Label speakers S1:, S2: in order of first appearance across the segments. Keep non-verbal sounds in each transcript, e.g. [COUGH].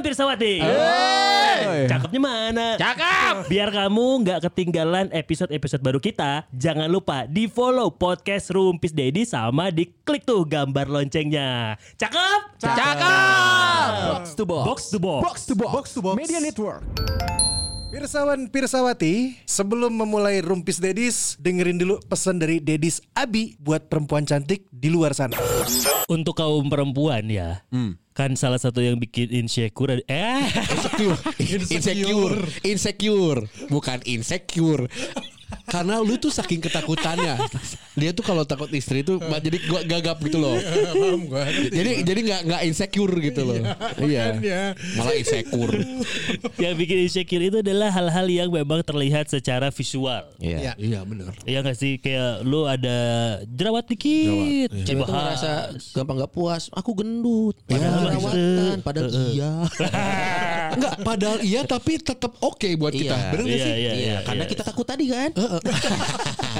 S1: pesawat nih.
S2: Yeay.
S1: Cakepnya mana?
S2: Cakep.
S1: Biar kamu nggak ketinggalan episode-episode baru kita, jangan lupa di follow podcast Rumpis Dedi sama diklik tuh gambar loncengnya. Cakep?
S2: Cakep.
S3: Box to box.
S1: Box to box.
S3: Box to box.
S4: Box to box.
S3: Media network.
S4: Pirsawan Pirsawati, sebelum memulai Rumpis Dedis, dengerin dulu pesan dari Dedis Abi buat perempuan cantik di luar sana.
S1: Untuk kaum perempuan ya,
S3: Hmm.
S1: kan salah satu yang bikin insecure ad- eh [LAUGHS]
S2: insecure insecure bukan insecure karena lu tuh saking ketakutannya dia tuh kalau takut istri tuh ma- jadi gua gagap gitu loh
S5: Paham gua.
S2: jadi jadi nggak nggak insecure gitu loh iya
S5: Makanya.
S2: malah insecure
S1: yang bikin insecure itu adalah hal-hal yang memang terlihat secara visual.
S3: Iya.
S5: Iya benar.
S1: Iya nggak sih kayak lu ada jerawat dikit,
S3: Cewek tuh
S1: cibahas.
S3: ngerasa gampang nggak puas. Aku gendut. Padahal
S1: Iya.
S3: jerawatan. Padahal
S1: Eh, eh.
S3: iya.
S2: nggak padahal iya tapi tetap oke buat kita
S3: Iya.
S2: bener nggak
S1: Iya, iya,
S2: sih
S3: Iya.
S1: iya.
S3: Karena kita takut tadi kan.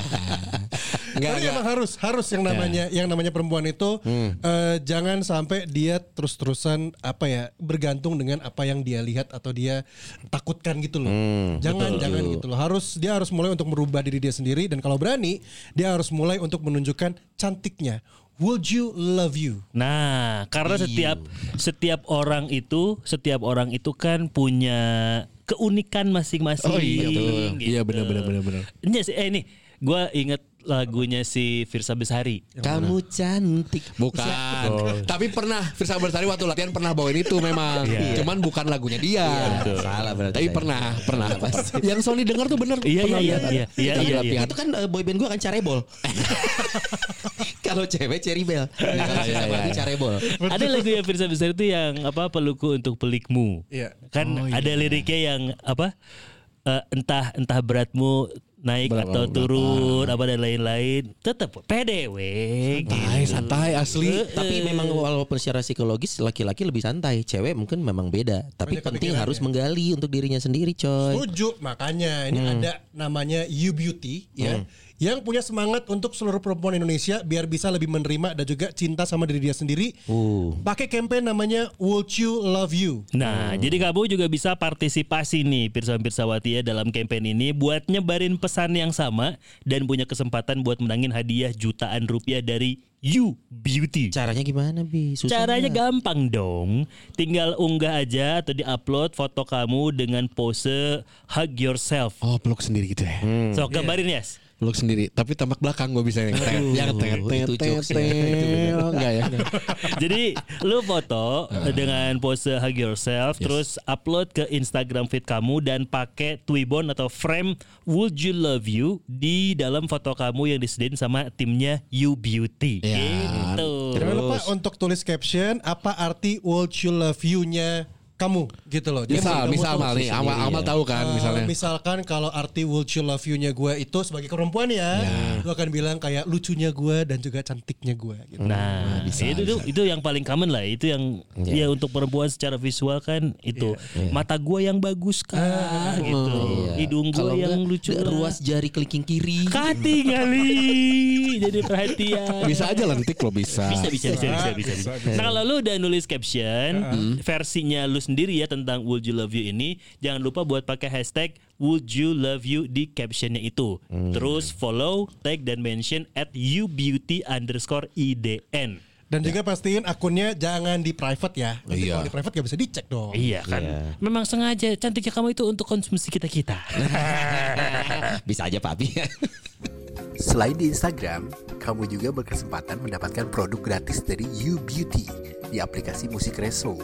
S2: nggak
S5: Karena
S2: nggak Hmm.
S5: emang harus harus yang namanya yang namanya perempuan itu eh, jangan sampai dia terus-terusan apa ya bergantung dengan apa yang dia lihat atau dia takutkan gitu loh.
S2: Hmm,
S5: jangan jangan gitu loh. Harus dia harus mulai untuk merubah diri dia sendiri dan kalau berani dia harus mulai untuk menunjukkan cantiknya. Would you love you?
S1: Nah, karena
S2: Iya.
S1: setiap setiap orang itu, setiap orang itu kan punya keunikan masing-masing. Gitu.
S2: Oh iya, betul. Iya, benar, benar, benar, benar.
S1: Ini sih, eh ini gue inget lagunya si Firsa Besari.
S3: Kamu cantik.
S2: Bukan.
S1: Oh.
S2: Tapi pernah Firsa Bersari waktu latihan pernah bawain itu memang.
S1: Iya.
S2: Cuman bukan lagunya dia.
S3: Salah berarti.
S2: Tapi
S3: saya.
S2: pernah, pernah. Yang Sony dengar tuh bener.
S1: Iya,
S2: Pernah
S1: iya,
S2: lihat.
S1: iya, iya,
S2: Kita
S1: iya,
S2: latihan.
S3: Itu kan eh, boyband gue kan carebol. Kalau cewek ceribel. Kalau
S2: iya,
S3: cewek
S2: iya.
S3: carebol.
S1: Ada lagu yang Firsa Besari itu yang apa peluku untuk pelikmu.
S5: Iya.
S1: Kan
S2: Oh,
S1: ada liriknya yang apa eh, entah entah beratmu naik
S2: Berapa,
S1: atau
S2: berapa.
S1: turun apa dan lain-lain tetap pede weh
S2: Santai,
S1: gitu.
S2: santai asli.
S1: eh.
S3: Tapi memang walaupun secara psikologis laki-laki lebih santai, cewek mungkin memang beda. Tapi
S5: Banyak
S3: penting
S5: kepikiran
S3: harus
S5: ya.
S3: menggali untuk dirinya sendiri, coy.
S5: Setuju, makanya ini ada namanya You Beauty ya. Yang punya semangat untuk seluruh perempuan Indonesia biar bisa lebih menerima dan juga cinta sama diri dia sendiri.
S3: Uh.
S5: Pakai campaign namanya Would You Love You.
S1: Nah, jadi kamu juga bisa partisipasi nih Pirsawan Pirsawati ya dalam campaign ini buat nyebarin pesan yang sama dan punya kesempatan buat menangin hadiah jutaan rupiah dari You Beauty.
S3: Caranya gimana, Bi? Susah
S1: Caranya
S3: nggak?
S1: gampang dong. Tinggal unggah aja atau di-upload foto kamu dengan pose hug yourself.
S2: Oh, peluk sendiri gitu ya.
S1: So, gambarin ya. Yes.
S2: Peluk sendiri. Tapi tampak belakang gue bisa yang tet, yang tet, tet,
S3: itu ya.
S2: tet,
S3: jokesnya.
S2: tet.
S3: Gitu,
S2: Oh, Enggak ya.
S1: [LAUGHS] Jadi lu foto dengan pose hug yourself terus upload ke Instagram feed kamu dan pakai Twibbon atau frame Would You Love You di dalam foto kamu yang disediain sama timnya You Beauty.
S2: Ya.
S1: Gitu.
S5: Jangan lupa untuk tulis caption apa arti Would You Love You-nya kamu gitu loh. Jadi
S1: Iya,
S2: Misal,
S5: kamu
S2: misal
S5: tuh,
S2: mal nih. Amal, amal tahu kan
S5: eh,
S2: misalnya.
S5: misalkan kalau arti would you love you-nya gue itu sebagai perempuan ya, lu akan bilang kayak lucunya gue dan juga cantiknya gue gitu.
S1: Nah, itu, itu itu yang paling common lah. Itu yang ya untuk perempuan secara visual kan itu mata gua yang bagus kah gitu.
S3: Iya.
S1: Hidung
S3: Kalau
S1: gua yang
S3: nggak,
S1: lucu
S3: nggak
S1: lah.
S3: ruas jari kelingking kiri.
S1: Kati kali jadi perhatian.
S2: Bisa aja lentik loh bisa.
S1: bisa bisa bisa bisa bisa. Ah. Hmm. Nah kalau lu udah nulis caption versinya lu sendiri ya tentang Would You Love You ini, jangan lupa buat pakai hashtag Would You Love You di captionnya itu. Terus follow, tag dan mention at youbeauty underscore idn.
S5: Dan juga pastiin akunnya jangan di private ya. Nanti
S2: Iya.
S5: kalau di private gak bisa dicek dong.
S1: Iya kan, memang sengaja cantiknya kamu itu untuk konsumsi kita kita.
S3: Bisa aja, [LAUGHS] Papi.
S6: Selain di Instagram, kamu juga berkesempatan mendapatkan produk gratis dari You Beauty di aplikasi Musik Reso.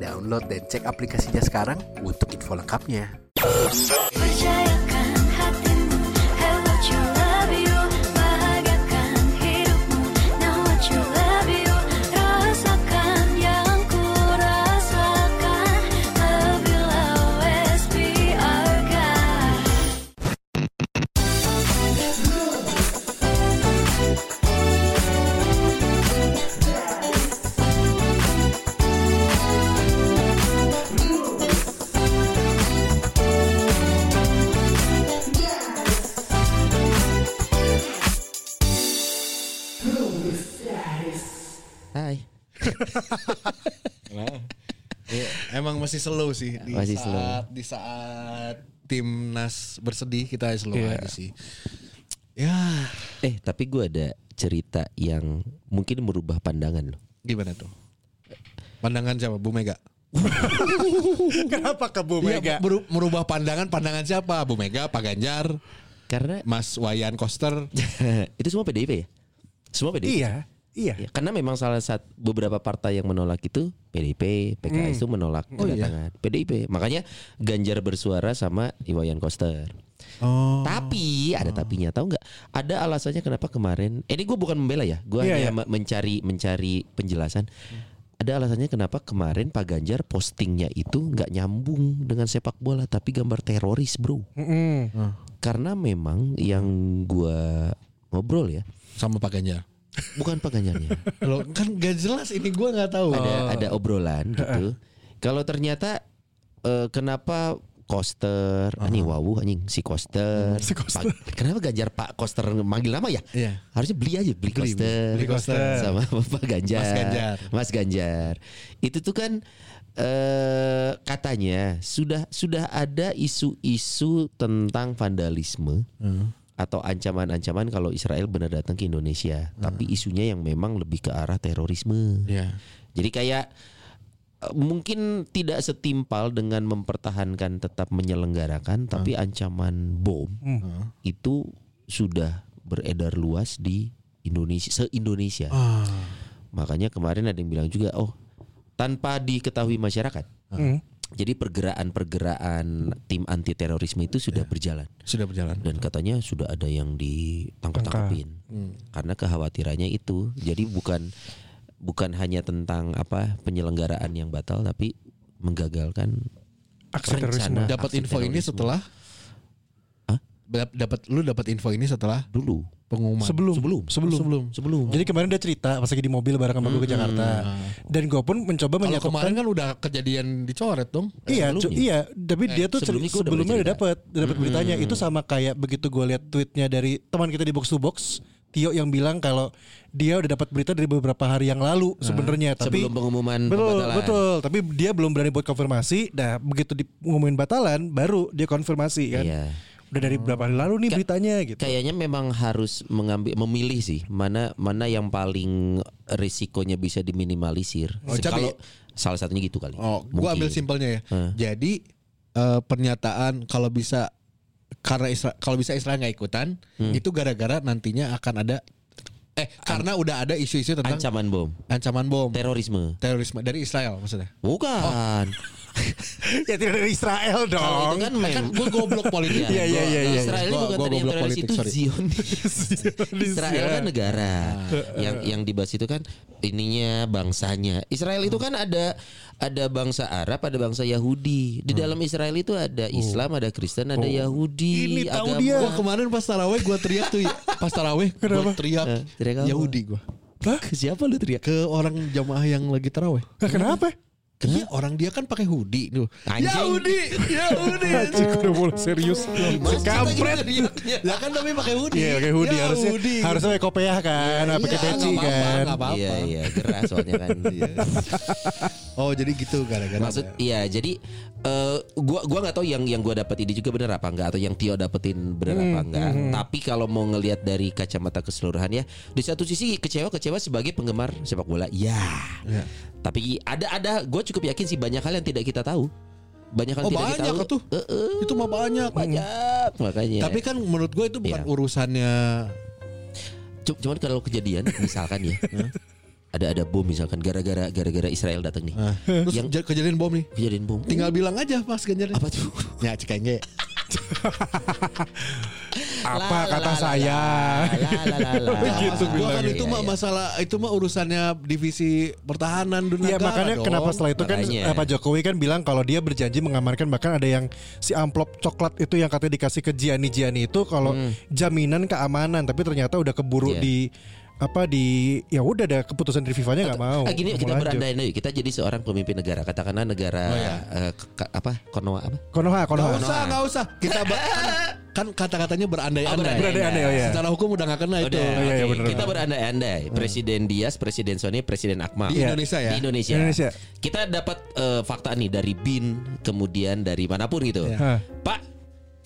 S6: Download dan cek aplikasinya sekarang untuk info lengkapnya.
S7: Percayakan hatimu, I want you, love you. Bahagiakan hidupmu, now want you, love you. Rasakan yang ku rasakan, love will always be our guide.
S3: Hai.
S2: Emang Iya. masih slow sih di
S3: Masih
S2: saat
S3: slow.
S2: di saat timnas bersedih kita slow aja sih. Ya,
S3: Eh tapi gue ada cerita yang mungkin merubah pandangan loh.
S2: gimana tuh? Pandangan siapa? Bu Mega. [LAUGHS]
S5: Kenapa ke Bu
S2: Iya,
S5: Mega?
S2: meru- merubah pandangan pandangan siapa? Bu Mega, Pak Ganjar,
S3: Karena [LAUGHS]
S2: Mas Wayan Koster.
S3: itu semua PDIP ya? Semua PDIP.
S5: Iya, iya.
S3: Ya, karena memang salah satu beberapa partai yang menolak itu PDIP,
S5: Hmm.
S3: PKS itu menolak
S5: Oh, iya?
S3: kedatangan PDIP. Makanya Ganjar bersuara sama Iwayan Koster.
S5: Oh.
S3: Tapi ada tapinya tahu nggak? Ada alasannya kenapa kemarin? eh, ini gue bukan membela ya, gue
S5: Iya,
S3: hanya
S5: iya. Hmm.
S3: me- mencari mencari penjelasan. Ada alasannya kenapa kemarin Pak Ganjar postingnya itu nggak nyambung dengan sepak bola, tapi gambar teroris bro.
S5: Hmm.
S3: Karena memang yang gue ngobrol ya,
S2: sama Pak Ganjar.
S3: bukan Pak
S5: [LAUGHS]
S3: Ganjarnya.
S2: Loh, kan gak jelas ini gua nggak tahu.
S3: ada ada obrolan gitu. Kalau ternyata eh, kenapa Koster, anjing wawu anjing si Koster. Pak- kenapa Ganjar Pak Koster manggil nama ya?
S2: Iya.
S3: Harusnya beli aja beli, Koster.
S2: beli Koster.
S3: sama [LAUGHS] Pak Ganjar.
S2: Mas Ganjar.
S3: Mas Ganjar. Itu tuh kan eh katanya sudah sudah ada isu-isu tentang vandalisme
S2: Hmm.
S3: atau ancaman-ancaman kalau Israel benar datang ke Indonesia. Tapi
S2: Hmm.
S3: isunya yang memang lebih ke arah terorisme.
S2: Iya.
S3: Jadi kayak eh, mungkin tidak setimpal dengan mempertahankan tetap menyelenggarakan tapi ancaman bom itu sudah beredar luas di Indonesia se-Indonesia. Makanya kemarin ada yang bilang juga oh tanpa diketahui masyarakat. Jadi pergeraan-pergeraan tim anti terorisme itu sudah berjalan
S2: Sudah berjalan.
S3: dan katanya sudah ada yang ditangkap-tangkapin karena kekhawatirannya itu jadi bukan bukan hanya tentang apa penyelenggaraan yang batal tapi menggagalkan
S5: Aksi terorisme.
S3: rencana
S2: Dapat
S3: aksi
S2: info ini
S3: terorisme.
S2: setelah Dap- Dapat lu dapat info ini setelah
S3: dulu
S2: pengumuman.
S5: Sebelum.
S2: Sebelum. Sebelum. Sebelum.
S5: Jadi kemarin dia cerita pas lagi di mobil bareng sama
S3: Hmm.
S5: gue ke Jakarta. Dan gue pun mencoba
S2: Kalau
S5: menyatukan
S2: kemarin kan udah kejadian dicoret dong.
S5: Iya,
S3: sebelumnya. Eh,
S5: cu- iya. Tapi dia tuh sebelumnya,
S3: sebelumnya gua udah
S5: sebelumnya
S3: baca
S5: udah
S3: cerita. Hmm.
S5: dapat, udah dapat beritanya. Itu sama kayak begitu gue lihat tweetnya dari teman kita di box to box, Tio yang bilang kalau dia udah dapat berita dari beberapa hari yang lalu sebenarnya, tapi
S3: Nah, sebelum pengumuman
S5: betul,
S3: pembatalan.
S5: betul. Tapi dia belum berani buat konfirmasi. Nah, begitu di- ngumumin batalan, baru dia konfirmasi kan.
S3: Iya.
S5: Udah dari berapa hari lalu nih beritanya gitu.
S3: kayaknya memang harus mengambil memilih sih mana mana yang paling risikonya bisa diminimalisir
S2: Oh, tapi-
S3: kalau salah satunya gitu kali
S2: Oh, gua ambil
S3: Mungkin.
S2: simpelnya ya. Jadi eh, pernyataan kalau bisa karena Isra- kalau bisa Israel nggak ikutan, itu gara-gara nantinya akan ada eh karena udah ada isu-isu tentang
S3: ancaman bom
S2: ancaman bom,
S3: terorisme
S2: terorisme dari Israel maksudnya.
S3: bukan
S5: [LAUGHS] ya tidak dari Israel
S3: Kalau itu
S5: dong.
S3: kan mem-
S2: Kan gue goblok politik.
S5: Iya, iya, iya, iya.
S3: Israel ini
S2: Gua-
S3: bukan
S2: gua
S3: tadi yang
S2: goblok
S3: teroris
S2: politik,
S3: itu
S2: sorry.
S3: Zionis. Israel kan negara. yang yang dibahas itu kan ininya bangsanya. Israel itu kan ada ada bangsa Arab, ada bangsa Yahudi. Di dalam Israel itu ada Islam, ada Kristen, ada Yahudi.
S5: Ini tahu
S3: agama.
S5: dia.
S2: Gua kemarin pas taraweh gue teriak tuh ya. Pas taraweh gue teriak
S3: Eh, teriak apa?
S2: Yahudi gue
S3: Ke siapa lu teriak?
S2: ke orang jamaah yang lagi taraweh.
S5: Nah, kenapa?
S2: Iya orang dia kan pakai hoodie tuh.
S3: Anjing.
S2: Yahudi,
S3: [LAUGHS]
S2: Yahudi.
S5: [LAUGHS] Anjing udah mulai serius. Kampret.
S3: Iya,
S2: Ya kan tapi pakai hoodie.
S5: Iya, kayak hoodie harusnya.
S2: Yahudi.
S5: Harusnya pakai kopiah kan, pakai
S2: ya gitu. Iya,
S5: peci
S2: nggak apa-apa,
S5: kan.
S2: nggak apa-apa.
S3: Iya, iya, gerah soalnya kan.
S2: Oh jadi gitu gara-gara.
S3: Maksud
S2: ada.
S3: iya jadi eh, gua gua nggak tahu yang yang gua dapat ini juga bener apa enggak atau yang Tio dapetin bener apa
S2: Hmm,
S3: enggak. Tapi kalau mau ngelihat dari kacamata keseluruhan ya, di satu sisi kecewa-kecewa sebagai penggemar sepak bola. Ya. Tapi ada ada gua cukup yakin sih banyak hal yang tidak kita tahu. Banyak hal
S2: Oh
S3: yang tidak kita
S2: banyak
S3: tahu.
S2: tuh.
S3: Eh, eh,
S2: Itu mah banyak.
S3: banyak makanya.
S2: Tapi kan menurut gue itu bukan
S3: Iya.
S2: urusannya.
S3: Cu- cuman kalau
S2: [LAUGHS]
S3: kejadian misalkan ya. ada ada bom misalkan gara-gara gara-gara Israel datang nih.
S2: Terus
S3: Yang-
S2: j- kejadian bom nih.
S3: Kejadian bom.
S2: Tinggal bilang aja Mas Ganjar.
S3: apa tuh?
S2: Ya cekenge.
S5: Apa
S3: La, la,
S5: kata
S3: la, la,
S5: saya?
S3: la, la, la, la.
S2: Gitu kan
S3: Iya,
S2: itu mah
S3: iya.
S2: masalah itu mah urusannya divisi pertahanan
S5: [LAUGHS]
S2: dunia.
S5: Iya makanya kenapa setelah itu
S3: Makanya.
S5: kan eh, Pak Jokowi kan bilang kalau dia berjanji mengamankan bahkan ada yang si amplop coklat itu yang
S2: Hmm.
S5: katanya dikasih ke Jiani Jiani itu kalau jaminan keamanan tapi ternyata udah keburu
S3: Iya.
S5: di apa di ya udah ada keputusan dari FIFA-nya nggak mau.
S2: Eh,
S3: Ah,
S5: Mau
S3: gini
S5: lanjut.
S3: kita
S5: Oh, iya.
S3: berandai-andai kita jadi seorang pemimpin negara katakanlah negara eh, ke- ke- apa Konoha apa
S5: Konoha, Konoha.
S2: Nggak usah, nggak usah. Kita ba- kan, kan kata-katanya berandai-andai.
S5: Berandai-andai, oh iya.
S2: Secara hukum udah nggak kena itu.
S3: Udah,
S5: iya, iya,
S3: oke.
S5: bener.
S3: kita berandai-andai. Presiden Dias, Presiden Sony, Presiden Akmal.
S2: Di
S5: Iya.
S2: Indonesia ya.
S3: Di Indonesia.
S5: Indonesia.
S3: Kita dapat eh, fakta nih dari BIN, kemudian dari manapun gitu.
S5: Hah.
S3: Pak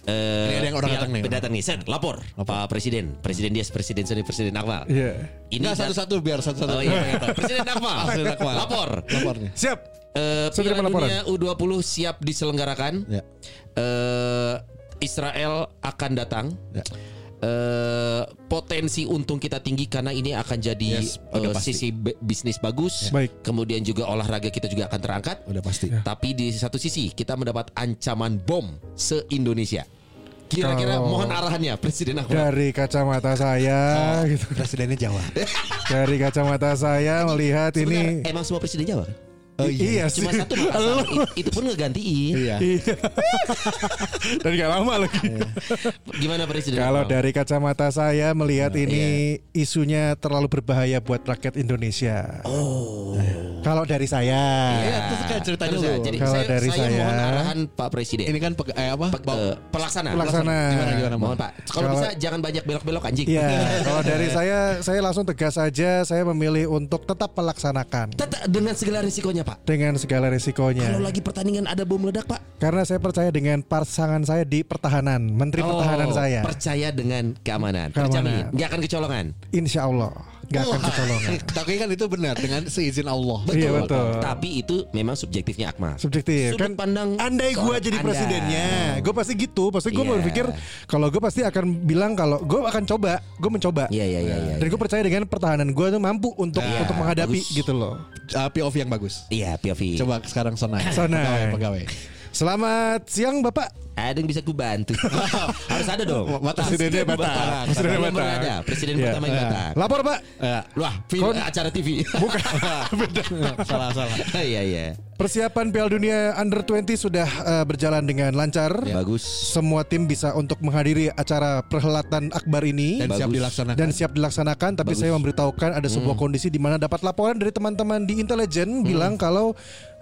S3: eh,
S2: Ini ada yang orang
S3: pihak
S2: datang nih.
S3: pendatang nih. Set, lapor. Pak Presiden, Presiden Dias, Presiden Sony, Presiden Akmal.
S5: Iya.
S3: Ini
S2: Nggak
S3: dat-
S2: satu-satu biar satu-satu.
S3: Oh iya, Presiden Akmal.
S2: Presiden Akmal.
S3: Lapor.
S2: Lapornya.
S5: Siap.
S3: Eh,
S5: Saya
S3: Piala
S5: terima laporan.
S3: Dunia U20 siap diselenggarakan.
S2: Ya.
S3: Eh, Israel akan datang.
S2: Ya.
S3: Eh, potensi untung kita tinggi karena ini akan jadi
S2: Yes, udah
S3: eh,
S2: pasti. Ya.
S3: sisi b- bisnis bagus.
S5: Baik.
S3: Kemudian juga olahraga kita juga akan terangkat.
S2: Udah pasti.
S5: Iya.
S3: Tapi di satu sisi kita mendapat ancaman bom se-Indonesia. Kira-kira
S5: Kalau-
S3: mohon arahannya Presiden Akbar.
S5: Dari kacamata saya gitu.
S2: Presidennya
S3: [LAUGHS]
S2: Jawa.
S5: Dari kacamata saya melihat ini
S3: Sebentar, emang semua presiden Jawa kan?
S5: I- iya, sih.
S3: Cuma
S5: [LAUGHS]
S3: satu Makassar. It- itu pun ngegantiin.
S2: Iya.
S5: Iya. [LAUGHS] Dan gak lama lagi.
S3: Gimana presiden?
S5: Kalau
S3: Akmal?
S5: dari kacamata saya melihat
S3: Nah, iya.
S5: ini isunya terlalu berbahaya buat rakyat Indonesia. Oh. Kalau dari saya.
S2: Iya, terus kayak cerita
S3: Terus
S2: dulu.
S3: ya, jadi
S5: Kalau
S3: saya,
S5: dari
S3: saya
S5: saya-
S3: mohon arahan Pak Presiden.
S2: Ini kan pe- eh, apa?
S3: Pe-
S2: Bau-
S3: eh, pelaksana.
S5: Pelaksana.
S2: Gimana, gimana,
S3: Mohon Pak. Kalau
S5: Kalau-
S3: bisa jangan banyak belok-belok anjing.
S5: Iya, kalau dari saya saya langsung tegas aja saya memilih untuk tetap melaksanakan
S3: Tetap dengan segala risikonya Pak.
S5: dengan segala resikonya.
S3: Kalau lagi pertandingan ada bom meledak Pak.
S5: Karena saya percaya dengan pasangan saya di pertahanan, menteri pertahanan
S3: Oh,
S5: saya.
S3: Percaya dengan keamanan. Terjamin.
S5: Keamanan.
S3: Nggak akan kecolongan.
S5: Insya Allah nggak akan kecolongan.
S2: [LAUGHS] Tapi kan itu benar dengan seizin Allah.
S3: Betul.
S5: Iya, betul.
S3: Tapi itu memang subjektifnya Akmal.
S5: Subjektif
S3: Sudut
S5: kan
S3: pandang
S5: Andai gue
S3: seorang
S5: jadi
S3: Anda.
S5: presidennya Gue pasti gitu Pasti gue
S3: Iya.
S5: berpikir Kalau gue pasti akan bilang Kalau gue akan coba Gue mencoba
S3: Iya, iya, iya, iya,
S5: Dan gue percaya dengan pertahanan gue tuh mampu Untuk
S3: Iya,
S5: untuk menghadapi
S3: bagus.
S5: gitu loh
S2: Eh, POV yang bagus.
S3: Iya POV.
S2: Coba sekarang Sonai.
S5: Sonai.
S2: Pegawai, pegawai.
S5: Selamat siang bapak
S3: Ada yang bisa ku
S5: [LAUGHS]
S3: bantu. Harus ada dong.
S2: Batas.
S5: Presidennya
S2: Batas.
S5: Batak.
S2: Batas.
S5: Presidennya
S3: Yang
S5: Batak.
S3: berada, Presiden
S5: Iya.
S3: pertama yang datang.
S5: Lapor pak
S3: [LAUGHS]
S2: Ya. [LAUGHS]
S3: Wah, film,
S5: Kon-
S3: acara TV.
S5: Bukan Beda.
S2: salah salah.
S3: [LAUGHS] Iya, iya.
S5: Persiapan Piala Dunia Under 20 sudah eh, berjalan dengan lancar
S3: Iya. Bagus.
S5: Semua tim bisa untuk menghadiri acara perhelatan akbar ini
S2: Dan siap
S3: Bagus.
S2: dilaksanakan. Hmm.
S5: dan siap dilaksanakan tapi saya memberitahukan ada sebuah kondisi di mana dapat laporan dari teman-teman di intelijen bilang kalau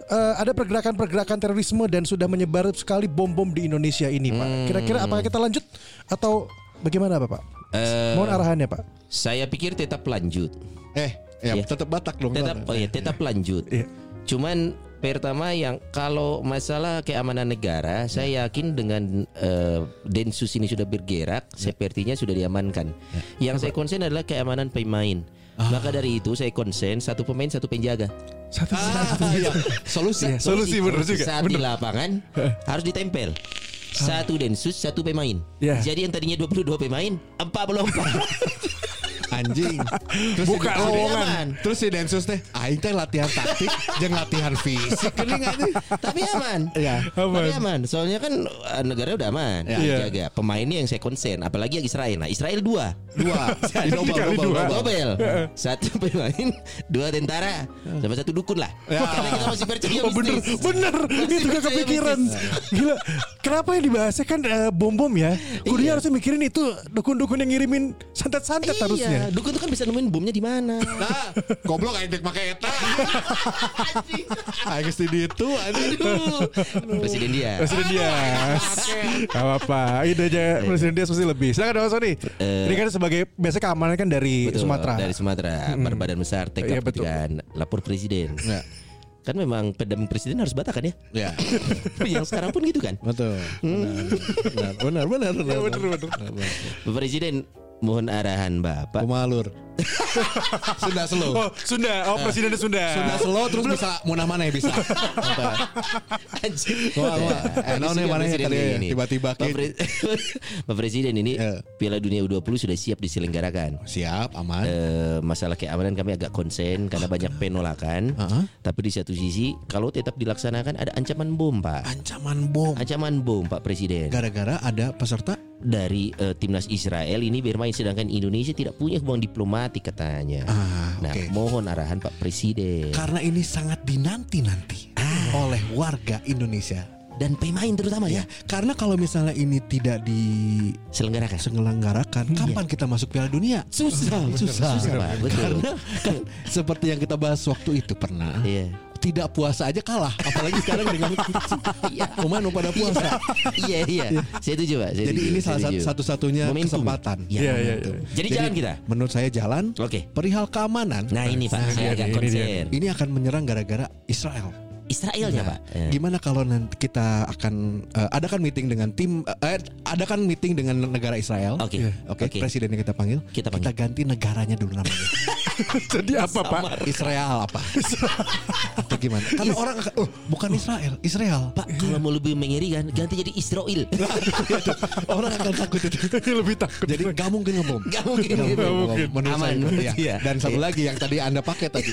S5: eh, ada pergerakan-pergerakan terorisme dan sudah menyebar sekali bom-bom di Indonesia ini Pak.
S2: Hmm.
S5: Kira-kira apakah kita lanjut atau bagaimana Bapak?
S3: Eh,
S5: Mohon arahannya Pak.
S3: Saya pikir tetap lanjut.
S2: eh, ya,
S3: Iya.
S2: tetap Batak dong.
S3: Tetap
S2: Sonai.
S3: oh ya, tetap lanjut.
S5: Iya.
S3: Cuman pertama yang kalau masalah keamanan negara,
S5: Iya.
S3: saya yakin dengan eh, Densus ini sudah bergerak,
S5: Iya.
S3: sepertinya sudah diamankan. Yang saya concern adalah keamanan pemain.
S5: Ah.
S3: Maka dari itu saya concern satu pemain satu penjaga.
S5: Satu
S2: Ah, iya. Solusi.
S5: Iya. Solusi, bener juga, Ah.
S3: Saat di lapangan harus ditempel. Satu densus, satu pemain.
S5: Iya.
S3: Jadi yang tadinya 22 pemain, 44.
S5: [LAUGHS]
S2: [LAUGHS] Anjing. Terus
S5: Buka
S2: si-
S3: lowongan.
S2: Aman. Terus si Densus teh, aing teh latihan taktik, [LAUGHS] jeung latihan fisik ini anjing.
S3: Tapi aman.
S2: Iya.
S3: Tapi aman. Soalnya kan eh, negara udah aman.
S5: Iya.
S3: Dijaga. Pemainnya yang saya concern, apalagi yang Israel. Nah, Israel dua.
S2: Dua.
S3: Double, double, double. Satu pemain, dua tentara, sama satu dukun lah.
S2: Ya.
S3: Karena kita masih percaya
S5: Oh bener,
S3: mistis.
S5: bener
S3: Masih
S5: Itu gak
S3: percaya
S5: kepikiran
S3: mistis.
S5: Gila Kenapa yang dibahasnya kan eh, bom-bom ya Kuliah
S3: Iya.
S5: harusnya mikirin itu Dukun-dukun yang ngirimin Santet-santet harusnya
S3: Iya, dukun tuh kan bisa nemuin bomnya di mana.
S2: Nah, goblok aing dek make [LAUGHS] eta. Aing geus di ditu anjing.
S3: Presiden dia.
S5: Presiden Dias Gak apa-apa Ide aja Presiden Dias mesti lebih Silahkan Mas Sony Ini kan sebagai Biasanya keamanan kan dari
S3: Betul,
S5: Sumatera Hmm.
S3: Dari Sumatera, berbadan besar, TK
S5: Iya, betul. Iya.
S3: pendidikan, lapor presiden. Kan memang pendamping presiden harus batakan
S5: [LAUGHS]
S2: Ya,
S3: ya. Yang sekarang pun gitu kan.
S2: betul. Benar, benar, benar, benar, benar, benar.
S3: Presiden mohon arahan Bapak.
S2: Pemalur. Sunda selo.
S5: Oh Sunda Oh Presiden Sunda
S2: Sunda selo terus bisa munah mana ya bisa.
S3: Anjing. Iya.
S2: Wah, wah. Eh, naon yang mana ya
S3: Presiden
S2: tadi ya?
S3: ini.
S2: Tiba-tiba
S3: Pak
S2: ke-
S3: Pre- [LAUGHS] Pak Presiden ini
S2: Ya.
S3: Piala Dunia U20 sudah siap diselenggarakan.
S2: Siap, aman.
S3: Eh, masalah keamanan kami agak konsen karena banyak penolakan.
S2: Heeh.
S3: Tapi di satu sisi kalau tetap dilaksanakan ada ancaman bom, Pak.
S2: Ancaman bom
S3: Ancaman bom, Pak Presiden.
S2: gara-gara ada peserta
S3: dari eh, timnas Israel ini bermain sedangkan Indonesia tidak punya hubungan diplomatik katanya.
S2: Ah,
S3: nah,
S2: oke.
S3: mohon arahan Pak Presiden. Ah.
S2: karena ini sangat dinanti-nanti oleh warga Indonesia
S3: dan pemain terutama
S2: Iya.
S3: ya
S2: Karena kalau misalnya ini tidak
S3: selenggarakan.
S2: diselenggarakan, kapan kita masuk Piala Dunia?
S3: Iya. Susah,
S2: Susah.
S3: Pak. betul.
S2: Karena kan seperti yang kita bahas waktu itu pernah.
S3: Iya.
S2: Tidak puasa aja kalah, apalagi sekarang
S3: [LAUGHS]
S2: dengan
S3: Iya.
S2: Oman pada puasa.
S3: iya iya. Saya setuju Pak. Saya
S2: Jadi
S3: setuju,
S2: ini
S3: saya
S2: salah satu-
S3: setuju.
S2: satu-satunya
S3: Momentum.
S2: kesempatan. Ya,
S3: Iya,
S8: Iya, iya,
S3: momentum. Jadi, jalan kita.
S2: Menurut saya jalan.
S3: Oke.
S2: Perihal keamanan. iya,
S3: Nah ini Pak,
S8: dia nih,
S3: saya agak
S8: ini dia
S3: concern.
S2: Ini akan menyerang gara-gara Israel. Nah,
S3: Israelnya Pak. Eh.
S2: Gimana kalau nanti kita akan eh, adakan meeting dengan tim eh, adakan meeting dengan negara Israel.
S3: Oke.
S2: Iya. Oke,
S3: Oke.
S2: presidennya kita panggil.
S3: Kita panggil.
S2: ganti negaranya dulu namanya.
S3: [LAUGHS]
S8: Jadi apa Pak?
S2: Israel apa? Atau
S3: [LAUGHS]
S2: gimana? Karena orang akan, oh, bukan Israel, Israel.
S3: Pak kalau mau lebih mengerikan ganti jadi Israel.
S2: orang akan takut itu.
S3: [LAUGHS]
S8: Lebih takut.
S2: Jadi nggak mungkin ngebom.
S3: Gak mungkin.
S2: Nggak mungkin. Menurut
S3: Aman.
S2: saya, iya.
S3: Iya.
S2: Dan satu lagi yang tadi Anda pakai
S3: [LAUGHS]
S2: tadi.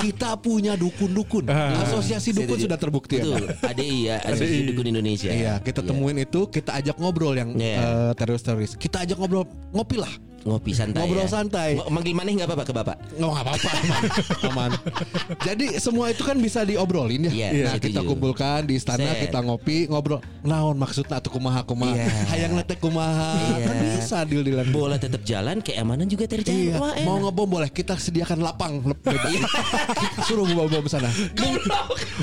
S2: Kita punya dukun-dukun. [LAUGHS] Asosiasi dukun
S3: Setuju.
S2: sudah terbukti ya,
S3: Ah. Betul.
S2: Pak?
S3: ADI ya, Asosiasi Dukun Indonesia.
S2: Iya, kita temuin itu, kita ajak ngobrol yang
S3: Iya.
S2: eh, teroris-teroris. Kita ajak ngobrol, ngopi lah.
S3: Ngopi santai.
S2: Ngobrol
S3: ya.
S2: santai.
S3: Ngo- Manggil maneh nggak apa-apa ke Bapak?
S2: Nggak nggak apa-apa,
S3: [LAUGHS]
S2: aman. aman. Jadi semua itu kan bisa diobrolin ya.
S3: Iya,
S2: nah,
S3: setuju.
S2: kita kumpulkan di istana,
S3: Set.
S2: kita ngopi, ngobrol. Naon maksudnya atau kumaha kumaha.
S3: Iya.
S2: [LAUGHS] Hayang letek kumaha.
S3: Iya.
S2: Kan bisa deal-dealan.
S3: Bola tetap jalan, keamanan juga terjaga.
S2: Iya,
S3: Wah, enak.
S2: mau ngebom boleh. Kita sediakan lapang
S3: [LAUGHS]
S2: lep- bebas.
S3: Iya.
S2: Suruh ngebom bom sana.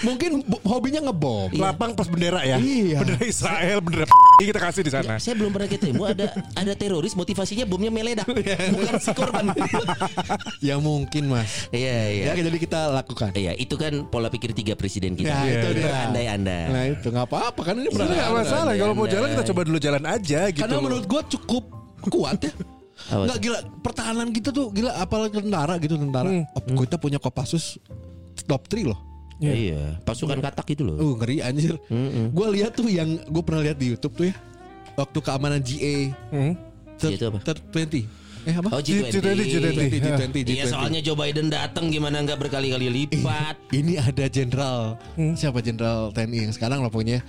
S2: Mungkin bu- hobinya ngebom.
S3: Iya.
S8: Lapang pas bendera ya.
S2: Iya.
S8: Bendera Israel, bendera kita kasih di sana.
S3: Nah, Saya belum pernah ketemu ada ada teroris motivasinya bomnya
S2: [LAUGHS]
S3: meledak
S2: Iya.
S3: bukan si korban.
S2: Ya mungkin mas.
S3: Iya iya.
S2: Ya, jadi kita lakukan.
S3: Iya, itu kan pola pikir tiga presiden kita. Iya,
S2: Ya, itu dia.
S3: Andai-andai.
S2: Nah itu nggak apa-apa kan ini
S8: Sebenarnya nggak
S2: benar.
S8: masalah kalau mau jalan kita coba dulu jalan aja gitu.
S2: Karena
S8: loh.
S2: menurut gua cukup kuat ya.
S3: Apa
S2: Nggak gila pertahanan kita tuh gila apalagi tentara gitu tentara. Oh, Kita punya Kopassus top 3 loh.
S3: Iya, pasukan katak gitu loh.
S2: Uh ngeri anjir. Gua lihat tuh yang gua pernah lihat di YouTube tuh ya. Waktu keamanan GA. Ter-
S3: Itu apa?
S2: ter- 20. Eh apa?
S3: Oh, G20.
S2: G20, G20,
S3: Iya, soalnya Joe Biden datang gimana nggak berkali-kali lipat.
S2: ini ada jenderal siapa jenderal TNI yang sekarang lah pokoknya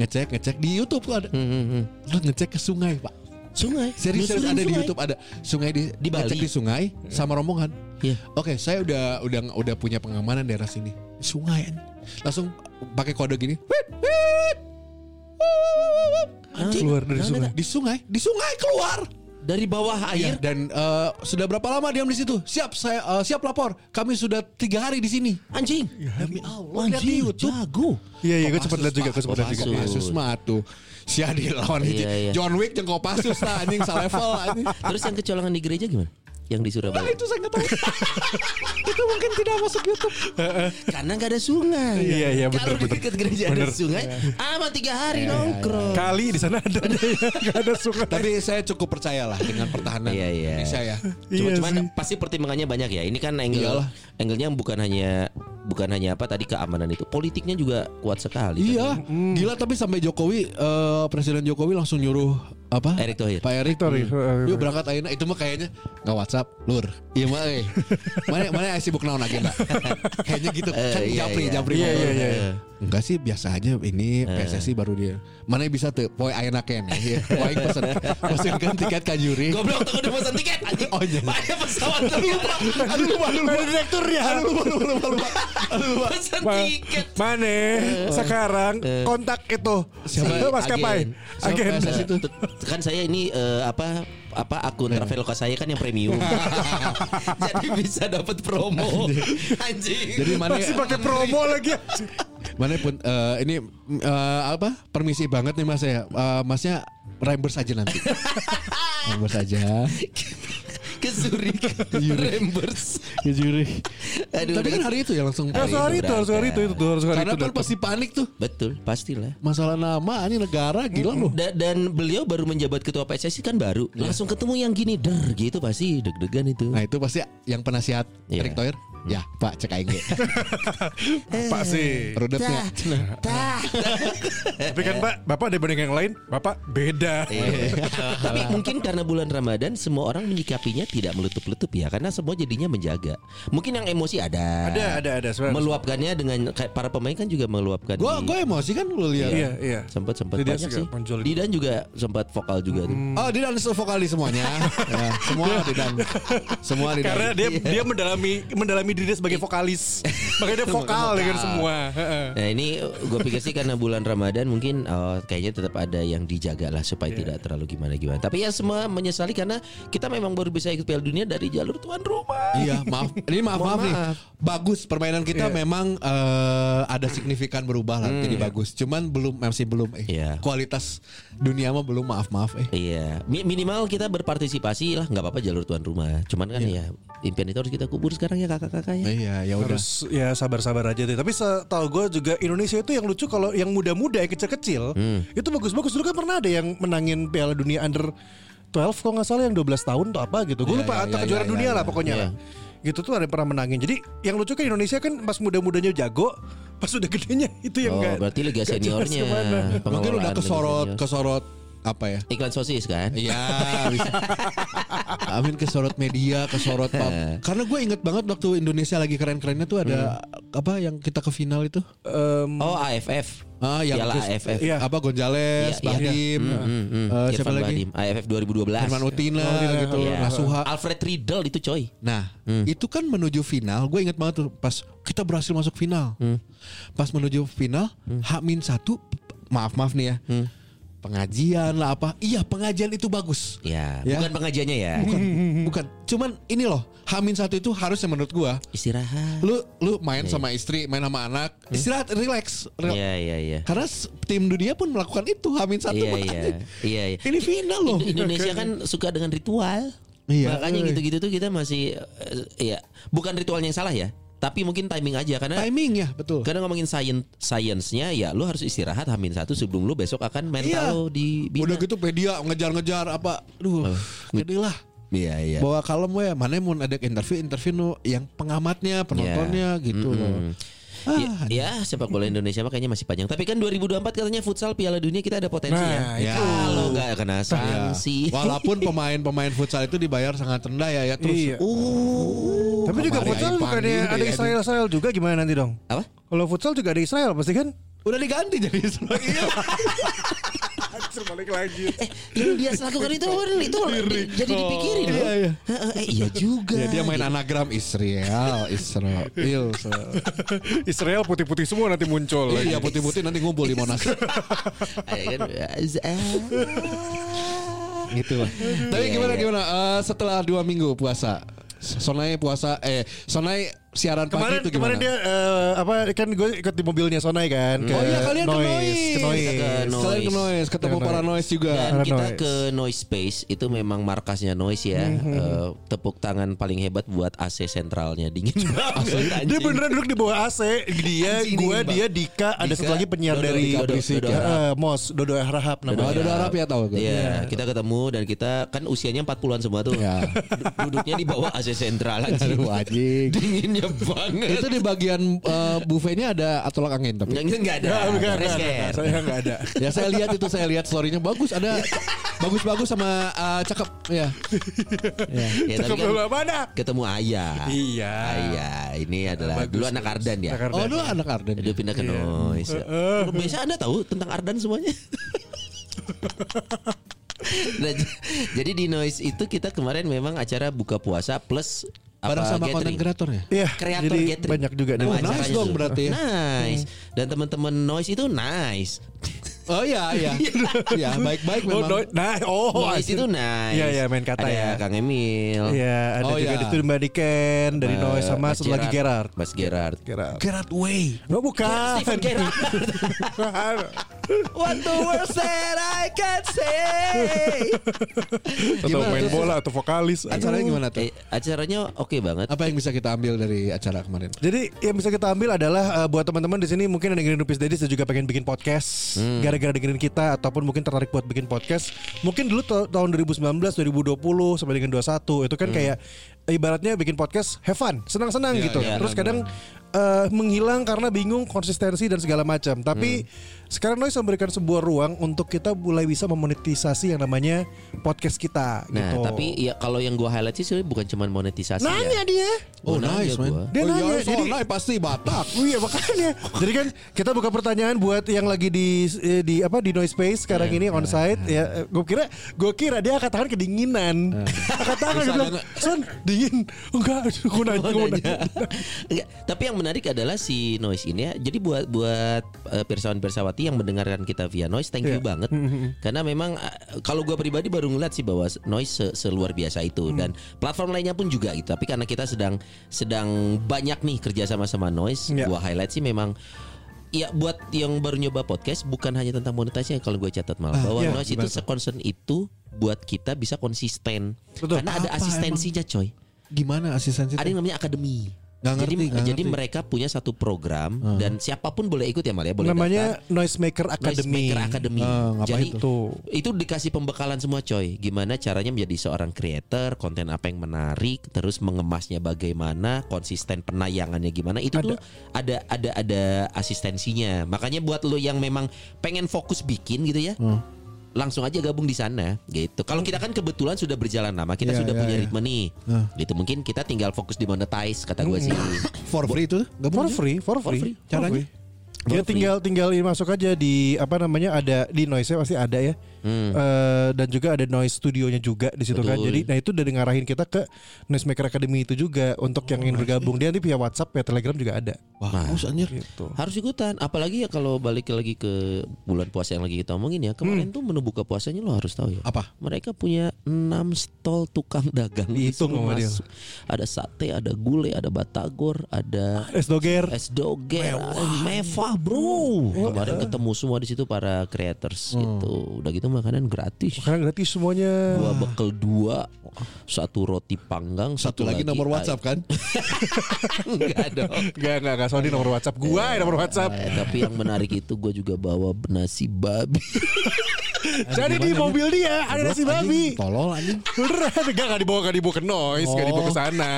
S2: ngecek ngecek di YouTube tuh ada Lu ngecek ke [LAUGHS] sungai pak
S3: Sungai.
S2: serius serius
S3: Melusurin
S2: ada di
S3: sungai.
S2: YouTube ada sungai di,
S3: Di Bali.
S2: ngecek di sungai sama rombongan
S3: Iya.
S2: oke saya udah udah udah punya pengamanan daerah sini sungai anjing. langsung pakai kode gini wit, wit. Anjing,
S5: Keluar dari
S2: Nah,
S5: sungai.
S2: nah, Di sungai, di sungai keluar.
S3: Dari bawah
S2: Iya.
S3: air.
S2: Dan eh, sudah berapa lama diam di situ? Siap, saya eh, siap lapor. Kami sudah tiga hari di sini.
S3: Anjing.
S2: Demi Allah, Iya, lihat di YouTube.
S3: Jago.
S8: Iya iya, gue sempat lihat juga, gue sempat lihat juga.
S2: Kopassus mah tuh. Si Adi lawan
S3: Iya,
S2: hiji-
S3: iya.
S2: John Wick jeung Kopassus lah anjing salevel anjing.
S3: [LAUGHS] Terus yang kecolongan di gereja gimana? Yang di Surabaya.
S2: Itu saya [LAUGHS] nggak tahu. itu mungkin tidak masuk YouTube.
S3: Karena nggak ada sungai.
S8: Iya, iya, bener,
S3: Kalau di dekat gereja ada
S8: Bener.
S3: sungai,
S2: Iya.
S3: ama tiga hari nongkrong.
S8: Kali di sana ada, ya, [LAUGHS] nggak ada sungai.
S2: Tapi saya cukup percayalah dengan pertahanan
S3: Iya, iya.
S2: Indonesia ya.
S3: Cuma, cuman kan pasti pertimbangannya banyak ya. Ini kan angle
S2: Iyalah.
S3: angle-nya bukan hanya bukan hanya apa tadi keamanan itu. Politiknya juga kuat sekali.
S2: Iya, gila tapi sampai Jokowi eh, Presiden Jokowi langsung nyuruh apa?
S3: Erick Thohir.
S2: Pak Erick
S8: Thohir.
S2: Hmm. Yuk berangkat ayeuna itu mah kayaknya nggak WhatsApp, lur. Iya mah [LAUGHS] eh. Mana mana aya sibuk naon
S3: [LAUGHS]
S2: agenda. kayaknya gitu
S3: Eh,
S2: kan
S3: iya,
S2: japri
S3: iya. Eh.
S2: japri.
S8: Iya,
S2: ngobrol.
S8: iya, iya.
S2: Enggak sih biasa aja ini PSSI baru dia. Mana bisa tuh poe ayeuna kene. Iya, poe pesen
S3: [LAUGHS]
S2: pesen kan tiket ka Yuri.
S3: Goblok tuh udah pesan tiket anjing.
S2: [LAUGHS] Oh, iya.
S3: Banyak ya? pesawat tapi lupa.
S2: Aduh lupa lupa direkturnya. Aduh lupa lupa lupa. lupa.
S3: Pesan
S8: Ma-
S3: tiket.
S8: Mane sekarang kontak itu
S2: Siapa?
S8: maskapai
S3: Agen.
S2: Siapa
S8: agen.
S2: PSSI tuh?
S3: Kan saya ini eh, apa apa akun
S2: Iya.
S3: Traveloka saya kan yang
S2: [LAUGHS]
S3: premium. [LAUGHS] Jadi bisa dapat promo. Anjing.
S2: Jadi mana
S8: Masih pakai promo lagi. ya?
S2: Mana pun eh, ini mm, eh, apa permisi banget nih mas ya, Eh, masnya reimburse aja nanti. reimburse aja.
S3: ke Zurich [LAUGHS] reimburse.
S2: Ya juri.
S3: Aduh,
S2: Tapi kan hari itu ya langsung.
S8: Harus hari itu, harus hari itu, itu harus hari
S2: Karena
S8: itu.
S2: kan pasti panik tuh.
S3: betul pastilah.
S2: Masalah nama ini negara gila loh.
S3: Da- dan beliau baru menjabat ketua PSSI kan baru
S2: Iya.
S3: langsung ketemu yang gini der gitu pasti deg-degan itu
S2: Nah itu pasti yang penasihat
S3: Iya.
S2: Erick Thohir. Ya Pak cek aing ge.
S8: Pak sih.
S2: Rudetnya.
S8: Tapi kan Pak, Bapak dibanding yang lain, Bapak beda.
S3: [LAUGHS] Iya. tapi mungkin karena bulan Ramadan semua orang menyikapinya tidak meletup-letup ya karena semua jadinya menjaga mungkin yang emosi ada
S8: Ada, ada, ada. sebenarnya.
S3: meluapkannya dengan kayak para pemain kan juga meluapkan
S2: Gue gue emosi kan lu lihat.
S8: Iya, iya.
S3: sempat sempat
S8: Tidak
S3: banyak
S8: juga
S3: sih
S8: muncul.
S3: Didan juga sempat vokal juga tuh
S2: Oh di dan vokal di semuanya. ya, semua di dan. Semua di dan. Iya.
S8: Karena dia dia mendalami mendalami diri dia sebagai vokalis. Makanya dia vokal dengan semua. Heeh.
S3: Nah ini gue pikir sih karena bulan Ramadan mungkin eh, kayaknya tetap ada yang dijaga lah
S2: Iya.
S3: supaya tidak terlalu gimana-gimana. Tapi ya semua menyesali karena kita memang baru bisa ikut Piala Dunia dari jalur tuan rumah.
S2: Iya maaf Ini maaf maaf nih Bagus permainan kita
S3: Iya.
S2: memang eh, Ada signifikan berubah lah Jadi bagus Cuman belum Masih belum eh
S3: Hmm, Iya.
S2: Kualitas dunia mah belum maaf maaf eh
S3: Iya, Mi- minimal kita berpartisipasi lah, nggak apa-apa jalur tuan rumah. Cuman kan ya impian itu harus kita kubur sekarang ya kakak-kakaknya.
S2: Iya ya udah
S5: Harus ya sabar-sabar aja deh. Tapi setahu gue juga Indonesia itu yang lucu kalau yang muda-muda yang kecil-kecil
S3: Hmm.
S5: itu bagus-bagus. Dulu kan pernah ada yang menangin Piala Dunia Under 12 kalau nggak salah yang 12 tahun atau apa gitu. Gue
S3: Iya,
S2: Ya,
S5: lupa
S2: ya,
S5: atau
S2: ya,
S5: kejuaraan
S2: ya,
S5: dunia
S2: ya,
S5: lah pokoknya
S3: ya.
S5: lah. Gitu tuh ada yang pernah menangin. Jadi yang lucu kan Indonesia kan pas muda-mudanya jago, pas udah gedenya itu
S2: Iya,
S5: yang
S3: Oh,
S5: nggak-
S3: berarti liga
S5: nggak jelas
S3: seniornya.
S5: kemana.
S2: Mungkin
S3: Pengelolaan
S2: udah
S3: liga
S2: kesorot
S3: senior.
S2: Kesorot Apa ya
S3: Iklan sosis kan?
S2: Iya, [LAUGHS] bisa. Amin kesorot media, kesorot
S3: Iya.
S2: pub. Karena gue inget banget waktu Indonesia lagi keren-kerennya tuh ada
S3: Hmm.
S2: apa yang kita ke final itu?
S5: Em,
S3: Oh AFF.
S2: Ah, yang
S3: Piala
S2: terus-
S3: AFF.
S2: Iya. apa Gonzales,
S3: Iya, iya.
S2: Bahdim,
S3: Hmm, hmm, hmm.
S2: eh,
S3: Irfan
S2: siapa lagi?
S3: Bahdim, AFF 2012.
S2: Herman Utina gitu,
S3: Iya.
S2: Nasuha.
S3: Alfred Riedel itu coy.
S2: Nah,
S3: Hmm.
S2: itu kan menuju final. Gue inget banget tuh pas kita berhasil masuk final.
S3: Hmm.
S2: Pas menuju final, Hamin satu, maaf maaf nih ya,
S3: Hmm.
S2: pengajian lah apa? Iya pengajian itu bagus.
S3: Ya,
S2: Ya.
S3: bukan pengajiannya ya.
S2: Bukan, bukan. Cuman ini loh, Hamin satu itu harusnya menurut gua
S3: Istirahat.
S2: lu lu main sama istri, main sama anak, istirahat, relax. Rel-
S3: Hmm. Iya, iya, iya.
S2: Karena s- tim dunia pun melakukan itu, Hamin satu.
S3: Iya,
S2: makanya.
S3: iya. Iya, iya.
S2: Ini final loh.
S3: Indonesia kan suka dengan ritual.
S2: Iya.
S3: Makanya gitu-gitu tuh kita masih eh, ya bukan ritualnya yang salah ya, tapi mungkin timing aja karena
S2: timing ya, betul.
S3: karena ngomongin sains sainsnya ya lu harus istirahat hamin satu sebelum lu besok akan mental
S2: Iya.
S3: lu dibina.
S2: Udah gitu pedia ngejar-ngejar apa.
S3: Oh,
S2: Aduh, gede lah.
S3: Iya, iya.
S2: Bawa kalem we, mana mau ada interview, interview nu yang pengamatnya, penontonnya gitu loh.
S3: Mm-mm.
S2: Ah,
S3: ya, ya, sepak bola Indonesia makanya masih panjang. Tapi kan 2024 katanya futsal Piala Dunia kita ada potensi
S9: Nah,
S3: ya.
S2: itu.
S3: Kalau nggak kena
S2: Ya.
S3: sanksi.
S2: [LAUGHS] Walaupun pemain-pemain futsal itu dibayar sangat rendah ya, ya
S5: Iya.
S2: terus.
S3: Oh,
S5: Tapi juga
S2: kemarin
S5: futsal
S2: dipanggil
S5: bukannya
S2: deh,
S5: ada
S2: aduh.
S5: Israel-Israel juga gimana nanti dong?
S3: Apa?
S5: Kalau futsal juga ada Israel pasti kan?
S2: Udah diganti jadi [LAUGHS] Ismail.
S5: [LAUGHS]
S3: Yang dia lakukan itu itu jadi dipikirin loh.
S2: Iya, iya.
S3: Heeh, eh, iya juga.
S2: Ya, dia main anagram Israel, Israel.
S8: Israel putih-putih semua nanti muncul.
S2: Iya putih-putih nanti ngumpul di Monas.
S3: Eh, kan, eh,
S2: gitu lah. Tapi
S3: Iya,
S2: gimana
S3: iya.
S2: gimana Eh, setelah dua minggu puasa? Sonai puasa eh Sonai siaran
S5: Kemarin
S2: pagi itu gimana?
S5: kemarin dia eh, apa kan gue ikut di mobilnya Sonai kan ke
S2: Oh iya kalian ke
S5: noise,
S2: noise. Iya, kan.
S5: ke noise.
S3: Kita ke Noise.
S2: Kalian ke noise, ketemu
S5: Ke
S2: para Iya, noise juga.
S3: Dan kita
S5: noise.
S3: ke Noise Space itu memang markasnya Noise ya. Eh, tepuk tangan paling hebat buat AC sentralnya dingin banget.
S5: Dia beneran duduk di bawah AC Dia,
S2: Anjing,
S5: gue,
S2: dingin
S5: dia, Dika Ada satu lagi penyiar
S3: Dodo,
S5: dari
S3: Dodo,
S5: Berisik,
S3: Dodo
S5: ya.
S3: Harap.
S5: Eh, Mos, Dodo Harahap
S2: Oh,
S5: namanya Nah,
S2: ada Arab ya tahu gue.
S3: Iya, kita ketemu dan kita kan usianya 40-an semua tuh.
S2: Iya.
S3: Du- Duduknya di bawah AC sentral anjing.
S2: Aduh anjing.
S3: Dinginnya banget.
S2: itu di bagian eh, buffetnya ada atolak angin tapi.
S3: Enggak enggak ada.
S5: Enggak, enggak,
S3: Rest care.
S5: enggak, Saya enggak ada
S2: ya saya lihat itu saya lihat storynya bagus ada bagus-bagus sama eh, cakep ya.
S3: Ya, tapi
S8: Cakep
S3: kan
S8: dulu mana?
S3: ketemu ayah.
S8: Iya.
S5: Ah,
S3: Ayah, Ah, ini adalah
S8: Bagus,
S3: dulu anak Ardan ya.
S8: Anak Ardan. iya. Eh,
S2: Oh lu anak Arden.
S3: Dia pindah ke Noise. Lu biasa Anda tahu tentang Ardan
S8: [LAUGHS]
S3: semuanya? Nah, j- jadi di Noise itu kita kemarin memang acara buka puasa plus
S2: Bareng
S3: apa
S2: sama konten
S3: gathering.
S2: kreator ya?
S5: Iya,
S3: Kreator
S5: jadi
S3: gathering.
S5: banyak juga
S3: Nama
S5: nih.
S2: nice
S3: acaranya
S2: dong
S3: tuh.
S2: berarti ya.
S3: Nice.
S5: Hmm.
S3: Dan teman-teman Noise itu nice.
S2: Oh iya iya. Iya, baik-baik
S5: Oh,
S2: memang.
S5: no, nah, oh,
S3: noise
S5: asli.
S3: itu nice.
S5: Iya, iya, main kata
S3: Ada
S5: ya.
S3: Kang Emil.
S5: Iya, ada
S2: Oh,
S5: juga
S2: iya.
S5: di situ Mbak Niken dari
S3: eh,
S5: Noise sama
S3: Mas
S5: satu lagi Gerard. Ah,
S3: Mas Gerard.
S5: Gerard.
S2: Gerard Way.
S5: No bukan.
S3: Stephen
S5: [LAUGHS]
S3: Gerard. What the words that I can say.
S8: Atau main bola atau vokalis.
S2: [LAUGHS] Acaranya gimana tuh?
S3: Eh, acaranya oke banget.
S2: Apa yang bisa kita ambil dari acara kemarin?
S5: Jadi yang bisa kita ambil adalah eh, buat teman-teman di sini mungkin yang dengerin Rupis Dedis dan juga pengen bikin podcast gara-gara dengerin kita ataupun mungkin tertarik buat bikin podcast. Mungkin dulu ta- tahun 2019, 2020 sampai dengan 21 itu kan kayak ibaratnya bikin podcast have fun, senang-senang
S2: Iya,
S5: gitu.
S2: iya,
S5: Terus kadang
S2: benar-benar.
S5: eh, menghilang karena bingung konsistensi dan segala macam. Tapi sekarang Noise memberikan sebuah ruang untuk kita mulai bisa memonetisasi yang namanya podcast kita
S3: Nah,
S5: gitu.
S3: tapi ya kalau yang gua highlight sih sebenarnya bukan cuman monetisasi
S5: nanya
S3: ya.
S5: dia.
S2: Oh,
S3: Gua nanya gua.
S5: Dia
S2: Dia
S5: nanya,
S2: nanya,
S5: jadi-
S2: pasti Batak.
S5: Oh iya makanya. Jadi kan kita buka pertanyaan buat yang lagi di eh, di apa di noise space sekarang
S3: Iya,
S5: ini on
S3: Iya.
S5: site ya. Gue kira gue kira dia akan tangan kedinginan. Angkat tangan dia bilang, "Son, dingin enggak aku nanya,
S3: Oh,
S5: aku
S3: nanya.
S5: nanya.
S3: Enggak, tapi yang menarik adalah si noise ini ya. Jadi buat buat eh, pirsawan pirsawati yang mendengarkan kita via noise, thank
S5: Iya.
S3: you banget.
S5: Hmm,
S3: Karena memang eh, kalau gua pribadi baru ngeliat sih bahwa noise se- seluar biasa
S5: Hmm.
S3: itu dan platform lainnya pun juga gitu. Tapi karena kita sedang sedang banyak nih kerja sama sama noise,
S5: Iya.
S3: gua highlight sih memang Ya buat yang baru nyoba podcast bukan hanya tentang monetasi yang kalau gue catat malah bahwa
S5: iya,
S3: noise itu sekonsen itu buat kita bisa konsisten
S5: Betul.
S3: karena ada
S2: Apa
S3: asistensinya coy
S2: Gimana asistensi?
S3: ada yang namanya akademi.
S2: ya? Nggak
S3: jadi
S2: ngerti, nggak
S3: jadi
S2: ngerti.
S3: mereka punya satu program dan siapapun boleh ikut ya Mal ya, boleh
S5: namanya Noisemaker
S3: daftar.
S5: Academy
S3: Noisemaker Academy.
S2: Ah, ngapain
S3: jadi
S5: itu
S3: itu dikasih pembekalan semua coy gimana caranya menjadi seorang creator konten apa yang menarik terus mengemasnya bagaimana konsisten penayangannya gimana itu tuh ada ada ada asistensinya makanya buat lo yang memang pengen fokus bikin gitu ya
S2: Hmm.
S3: langsung aja gabung di sana gitu kalau kita kan kebetulan sudah berjalan lama kita
S2: Iya,
S3: sudah
S2: iya,
S3: punya
S2: iya.
S3: ritme nih gitu mungkin kita tinggal fokus di monetize kata gue sih
S2: For free itu? Gak
S5: for free Mhm. for free
S2: Caranya?
S5: Dia
S3: For free.
S5: tinggal tinggal masuk aja di apa namanya ada di noise pasti ada ya. Eh, dan juga ada noise studionya juga di situ kan.
S3: Betul.
S5: Jadi nah itu udah ngarahin kita ke Noise Maker Academy itu juga untuk yang ingin bergabung. Dia nanti via WhatsApp, via Telegram juga ada.
S2: Bagus anjir.
S5: Gitu.
S3: harus ikutan apalagi ya kalau balik lagi ke bulan puasa yang lagi kita omongin ya kemarin tuh menu buka puasanya lo harus tahu ya
S2: Apa?
S3: mereka punya 6 stall tukang dagang
S5: Dihitung
S3: Disuruh
S5: sama dia.
S3: masuk. ada sate ada gulai ada batagor ada
S5: Es doger.
S3: es doger mewah bro kemarin ketemu semua di situ para creators gitu udah gitu makanan gratis
S5: Karena gratis semuanya.
S3: dua bekel dua satu roti panggang
S2: Satu
S3: satu,
S2: lagi nomor WhatsApp kan?
S3: [LAUGHS] enggak dong
S5: Enggak enggak enggak soalnya nomor WhatsApp gua ya nomor WhatsApp.
S3: Eh, tapi yang menarik itu gue juga bawa nasi babi
S5: Jadi Eh, di mobil dia ada nasi babi.
S2: Tolol anjing.
S5: Beneran enggak enggak dibawa enggak dibawa ke noise, enggak dibawa ke sana.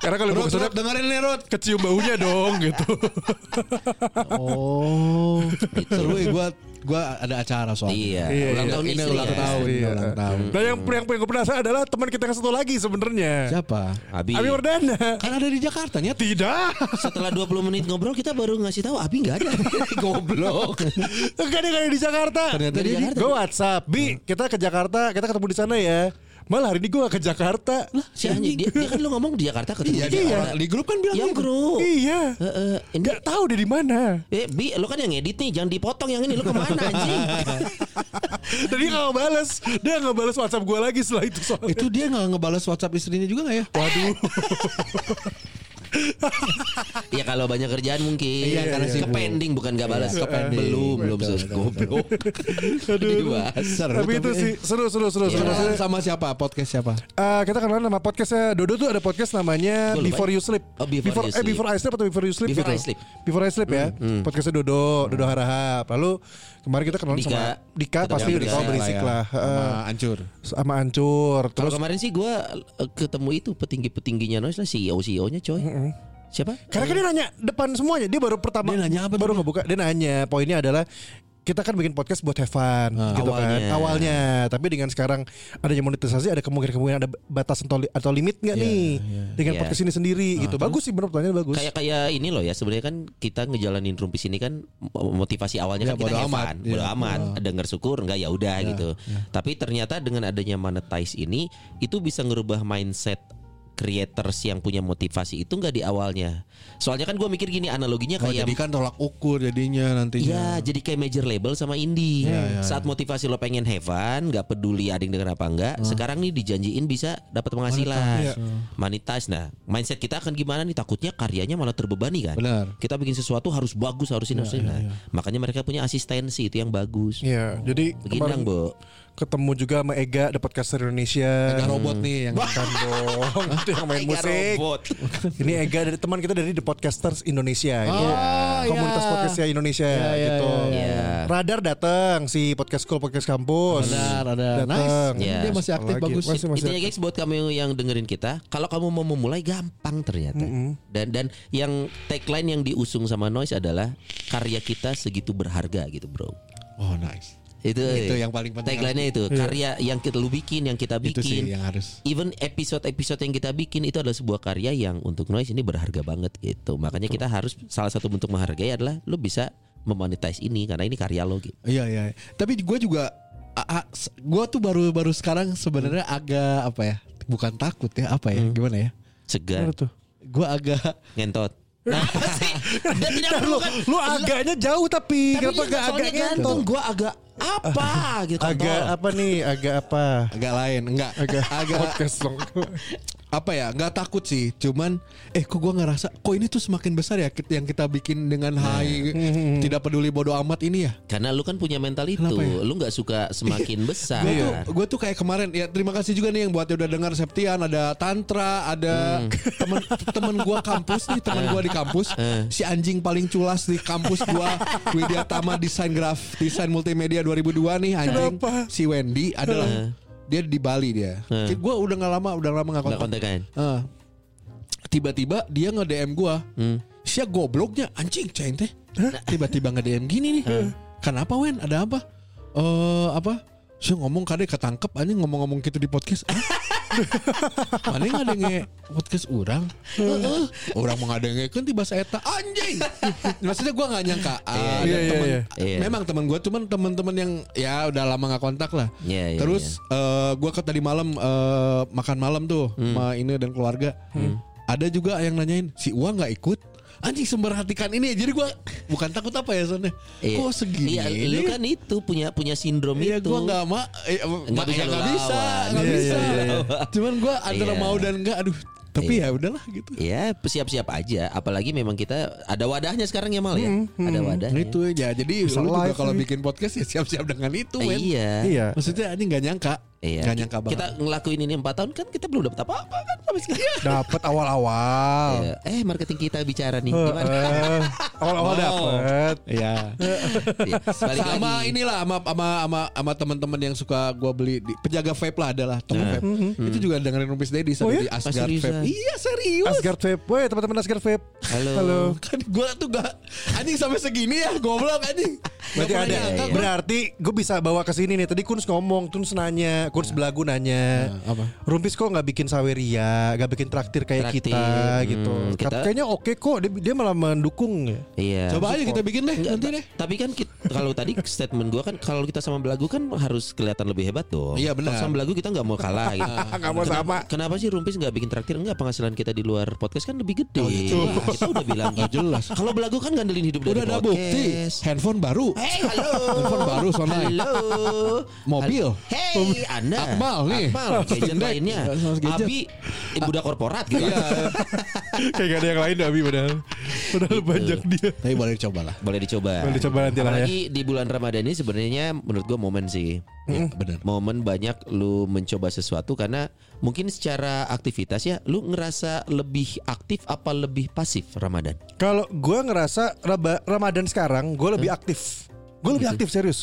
S5: Karena kalau dibawa
S2: Rod,
S5: ke sana
S2: Rod, dengerin nih Rod.
S5: kecium baunya dong gitu.
S2: Oh.
S3: Gitu.
S2: Seru ya gue gue ada acara soalnya.
S5: Iya,
S3: iya ulang
S5: iya.
S3: tahun
S2: Ini
S3: istri
S2: ulang
S3: kan?
S2: tahun, ini
S5: Iya.
S2: ulang tahun.
S5: Nah yang yang paling gue penasaran adalah teman kita yang satu lagi sebenarnya.
S2: Siapa?
S3: Abi,
S5: Abi Wardana.
S2: Kan ada di Jakarta
S5: [LAUGHS]
S2: nyet.
S5: Tidak.
S3: setelah 20 menit ngobrol kita baru ngasih tahu Abi nggak ada goblok
S5: Enggak dia nggak ada di Jakarta.
S2: Ternyata dia di-
S5: Gue WhatsApp, Bi, kita ke Jakarta, kita ketemu di sana ya. Malah hari ini gue gak ke Jakarta.
S3: si anjing dia, dia kan lu ngomong di Jakarta ketemu
S2: Iya,
S3: di
S2: iya.
S3: Jakarta.
S2: Di grup kan bilang
S3: yang
S2: gitu.
S3: bro
S5: Iya.
S3: Heeh, ini-
S5: Gak tahu dia di mana.
S3: Eh, Bi, lu kan yang edit nih, jangan dipotong yang ini. Lu kemana
S2: [LAUGHS]
S3: anjing?
S5: Dan dia gak balas. Dia gak balas WhatsApp gue lagi setelah itu soalnya.
S2: Itu dia nggak ngebales WhatsApp istrinya juga nggak ya?
S5: Waduh.
S3: ya kalau banyak kerjaan mungkin.
S2: Iya, karena
S3: ke
S2: sibuk.
S3: pending bukan gak balas
S2: Iya,
S3: ke pending.
S2: pending.
S3: Belum, belum
S2: Betul,
S3: sus
S2: betul,
S3: goblok.
S2: [LAUGHS]
S5: Aduh.
S3: Dibahas.
S2: Seru
S5: Tapi itu
S2: eh.
S5: sih seru seru seru seru.
S2: Kenalan
S5: Maksudnya,
S2: sama siapa? Podcast siapa?
S5: eh, kita kenalan nama podcastnya Dodo tuh ada podcast namanya
S3: Gua lupa.
S5: Before You Sleep.
S3: Oh, Before You
S5: eh,
S3: Sleep.
S5: Before I Sleep atau Before You Sleep?
S3: Before
S5: gitu.
S3: I Sleep. Hmm,
S5: Before I Sleep ya. Podcastnya Dodo, Dodo Harahap. Lalu kemarin kita kenalan
S3: Dika.
S5: sama Dika
S3: Ketemu
S5: pasti
S3: Dika. ya.
S5: Dika berisik lah.
S2: Sama
S5: Eh,
S2: Ancur.
S5: sama Ancur.
S3: Kalau
S5: Terus
S3: kemarin sih gue ketemu itu petinggi-petingginya noise lah E CEO-CEO-nya coy. Siapa?
S5: Karena kan dia nanya depan semuanya, dia baru pertama
S2: Dia nanya apa
S5: baru ngebuka. Dia nanya, poinnya adalah kita kan bikin podcast buat have fun gitu
S3: Ah, Awalnya.
S5: kan awalnya tapi dengan sekarang adanya monetisasi ada kemungkinan kemungkinan ada batasan atau, li- atau limit nggak nih dengan
S3: Iya.
S5: podcast ini sendiri gitu bagus sih benar pertanyaan bagus
S3: Kayak kayak ini loh ya sebenarnya kan kita ngejalanin rumpis ini kan mo- motivasi awalnya
S2: Ya,
S3: kan kita
S2: bodo
S3: have
S2: amat. Iya.
S3: fun,
S2: Ya.
S3: bodo amat, denger syukur enggak ya udah gitu. Tapi ternyata dengan adanya monetize ini itu bisa ngerubah mindset creators yang punya motivasi itu enggak di awalnya. Soalnya kan gue mikir gini analoginya
S2: Oh,
S3: kayak
S2: jadi kan tolak ukur jadinya nantinya.
S3: Iya, jadi kayak major label sama indie. Saat motivasi lo pengen heaven, nggak peduli ada yang denger apa enggak. Sekarang nih dijanjiin bisa dapat penghasilan, manitas. Nah, mindset kita akan gimana nih? Takutnya karyanya malah terbebani kan?
S2: Benar.
S3: Kita bikin sesuatu harus bagus, harus ini, harus ini. Nah, Makanya mereka punya asistensi itu yang bagus.
S5: Iya, jadi kemarin
S3: Beginang, Bu.
S5: ketemu juga sama Ega ada podcaster Indonesia
S2: Ada robot nih yang
S5: Bukan
S3: [LAUGHS]
S5: dong, itu yang main
S3: Ega
S5: musik.
S3: robot.
S5: Ini Ega dari teman kita dari The Podcasters Indonesia. Ini komunitas podcastnya Indonesia gitu.
S3: Oh, iya.
S5: Radar datang si podcast school podcast kampus.
S2: Benar, ada.
S5: Datang.
S2: Nice.
S3: Ya.
S2: Dia masih aktif
S5: Iya. Apalagi?
S2: bagus.
S5: Masih- masih-
S3: Intinya guys buat kamu yang dengerin kita, kalau kamu mau memulai gampang ternyata. Dan dan yang tagline yang diusung sama Noise adalah karya kita segitu berharga gitu, Bro.
S2: Oh, nice.
S3: itu
S2: Itu yang paling penting. Iya.
S3: tagline-nya itu karya yang kita lu bikin yang kita bikin
S2: Itu sih iya. yang harus.
S3: even episode-episode yang kita bikin itu adalah sebuah karya yang untuk noise ini berharga banget gitu makanya kita harus salah satu bentuk menghargai adalah lu bisa memonetize ini karena ini karya lo gitu
S2: Iya iya. Tapi gue juga, gue tuh baru baru sekarang sebenarnya agak apa ya? bukan takut ya apa ya gimana ya
S3: Segar.
S2: gue agak [LAUGHS]
S3: Ngentot. Nah, apa sih? Dan tidak
S2: Nah,
S3: perlu kan.
S5: Lu agaknya jauh tapi, kenapa gak agak ngentot?
S3: Gue agak
S2: [LAUGHS]
S3: apa gitu.
S5: Agak
S3: kontol.
S5: apa nih? Agak apa?
S2: agak lain enggak
S3: [LAUGHS]
S2: agak
S8: podcast dong.
S2: apa ya nggak takut sih cuman eh kok gue ngerasa kok ini tuh semakin besar ya kit- yang kita bikin dengan hai tidak peduli bodoh amat ini ya
S3: Karena lu kan punya mental itu.
S2: Kenapa ya?
S3: Lu nggak suka
S2: [LAUGHS]
S3: semakin besar.
S2: gue tuh gue tuh kayak kemarin ya terima kasih juga nih yang buat yang udah dengar Septian ada tantra ada temen temen gue kampus nih temen gue di kampus si anjing paling culas di kampus gue Widya Tama desain graf desain multimedia 2002 nih anjing si Wendy adalah dia di Bali dia gue udah nggak lama udah lama Eh. nggak
S3: Nggak
S2: kontak
S5: kan?
S3: kontekan.
S2: Eh, tiba-tiba dia nge DM gua.
S5: Hmm.
S2: Sia gobloknya anjing cain teh.
S5: Nah.
S2: Tiba-tiba nge DM gini nih. Kenapa Wen? Ada apa? Eh apa? Sia ngomong kade ketangkep anjing ngomong-ngomong gitu di podcast.
S5: [LAUGHS]
S2: Ah? Mana nggak ada nge podcast orang? orang mau ngadenge kan tiba saya eta
S5: [LAUGHS]
S2: anjing. Maksudnya gua nggak nyangka. Ah, ada
S5: iya,
S2: temen-
S5: iya.
S3: Iya.
S2: Memang teman gua cuman teman-teman yang ya udah lama nggak kontak lah.
S3: Iya, iya, Hmm.
S2: Terus eh, gua ke tadi malam eh, makan malam tuh sama ini dan keluarga. Hmm. Ada juga yang nanyain si Uang nggak ikut? Anjing semperhatikan ini jadi gua bukan takut apa ya soalnya.
S3: Iya.
S2: Kok segini?
S3: Iya, lu kan itu punya punya sindrom
S2: Iya
S3: itu.
S2: gue gak ma eh, ma- ya
S3: bisa lu
S2: nggak bisa
S3: lawan.
S2: nggak
S5: Iya,
S2: bisa
S5: iya, iya,
S2: Cuman gue antara
S3: Iya.
S2: mau dan enggak Aduh Tapi ya udahlah gitu
S3: Ya siap-siap aja. Apalagi memang kita ada wadahnya sekarang ya Mal ya. Ada
S2: Nah
S3: wadahnya.
S2: itu ya Jadi
S5: Bisa
S2: lu juga
S5: live
S2: kalau
S5: nih.
S2: bikin podcast Ya siap-siap dengan itu
S3: Eh,
S2: Wen
S3: Iya.
S5: Iya.
S2: Maksudnya ini gak nyangka
S3: Iya.
S2: Gak nyangka banget
S3: Kita ngelakuin ini 4 tahun kan kita belum dapat apa-apa kan sampai sekarang.
S5: Dapat
S2: Oh.
S5: awal-awal.
S3: Iya. Eh marketing kita bicara nih gimana?
S5: Eh, awal-awal dapat.
S2: Iya
S3: [LAUGHS] Iya, balik
S2: Sama
S3: lagi.
S2: inilah Sama, sama, sama, sama teman-teman yang suka gue beli di, Penjaga vape lah adalah Toko vape Itu juga dengerin Rumpis Dedi Sama
S5: Iya. Mm-hmm. Oh ya?
S2: di Asgard
S3: Seriusan?
S2: vape Iya serius
S5: Asgard Vape. Woi, teman-teman Asgard Vape.
S3: Halo.
S2: Kan gue tuh gak Anjing sampai segini ya Goblok anjing
S5: Berarti
S2: Gak pernah
S5: ada.
S2: nyangka gua.
S5: Berarti gue bisa bawa ke sini nih. Tadi Kuns ngomong, Kuns nanya,
S3: Iya.
S5: Kuns belagu nanya.
S2: Nah, apa?
S5: Rumpis kok nggak bikin saweria, nggak bikin traktir kayak kita
S3: Traktir, hmm,
S5: gitu.
S3: kita-
S5: Kat- Kayaknya oke kok. Dia, dia malah mendukung. ya.
S3: Iya.
S2: Coba aja kita bikin deh
S3: Enggak,
S2: nanti deh.
S3: ta- Tapi kan kit- kalau tadi statement gua kan kalau kita sama belagu kan harus kelihatan lebih hebat dong.
S2: Iya, benar.
S3: Kalau sama belagu kita nggak mau kalah
S2: [LAUGHS]
S3: gitu.
S5: Nggak mau sama.
S3: Kenapa sih Rumpis nggak bikin traktir? Enggak penghasilan kita di luar podcast kan lebih gede.
S2: Oh, iya,
S3: Wah, kita udah bilang gitu. jelas. Kalau belagu kan ngandelin hidup
S2: Udah
S3: dari
S2: ada bukti
S3: podcast.
S2: handphone baru.
S5: Eh?
S3: Hey, halo.
S2: Handphone baru, Sonai.
S3: Halo.
S2: Mobil.
S3: Hey, Anda.
S2: Akmal nih. [LAUGHS]
S3: Akmal, gadget
S2: Pendek.
S3: lainnya.
S2: Sama gadget. Iya.
S3: Abi, eh, budak korporat gitu.
S8: Kayak gak ada yang lain Abi padahal.
S3: Gitu.
S8: Padahal banyak dia.
S2: Tapi boleh dicoba lah.
S3: Boleh dicoba.
S5: Boleh dicoba nanti lah ya.
S3: Apalagi di bulan Ramadan ini sebenarnya menurut gua momen sih.
S5: Hmm.
S2: Ya, benar.
S3: Momen banyak lu mencoba sesuatu karena mungkin secara aktivitas ya lu ngerasa lebih aktif apa lebih pasif Ramadan?
S5: Kalau gue ngerasa Raba- Ramadan sekarang gue lebih
S3: Hmm.
S5: aktif. Gue
S3: Gitu.
S5: lebih aktif serius.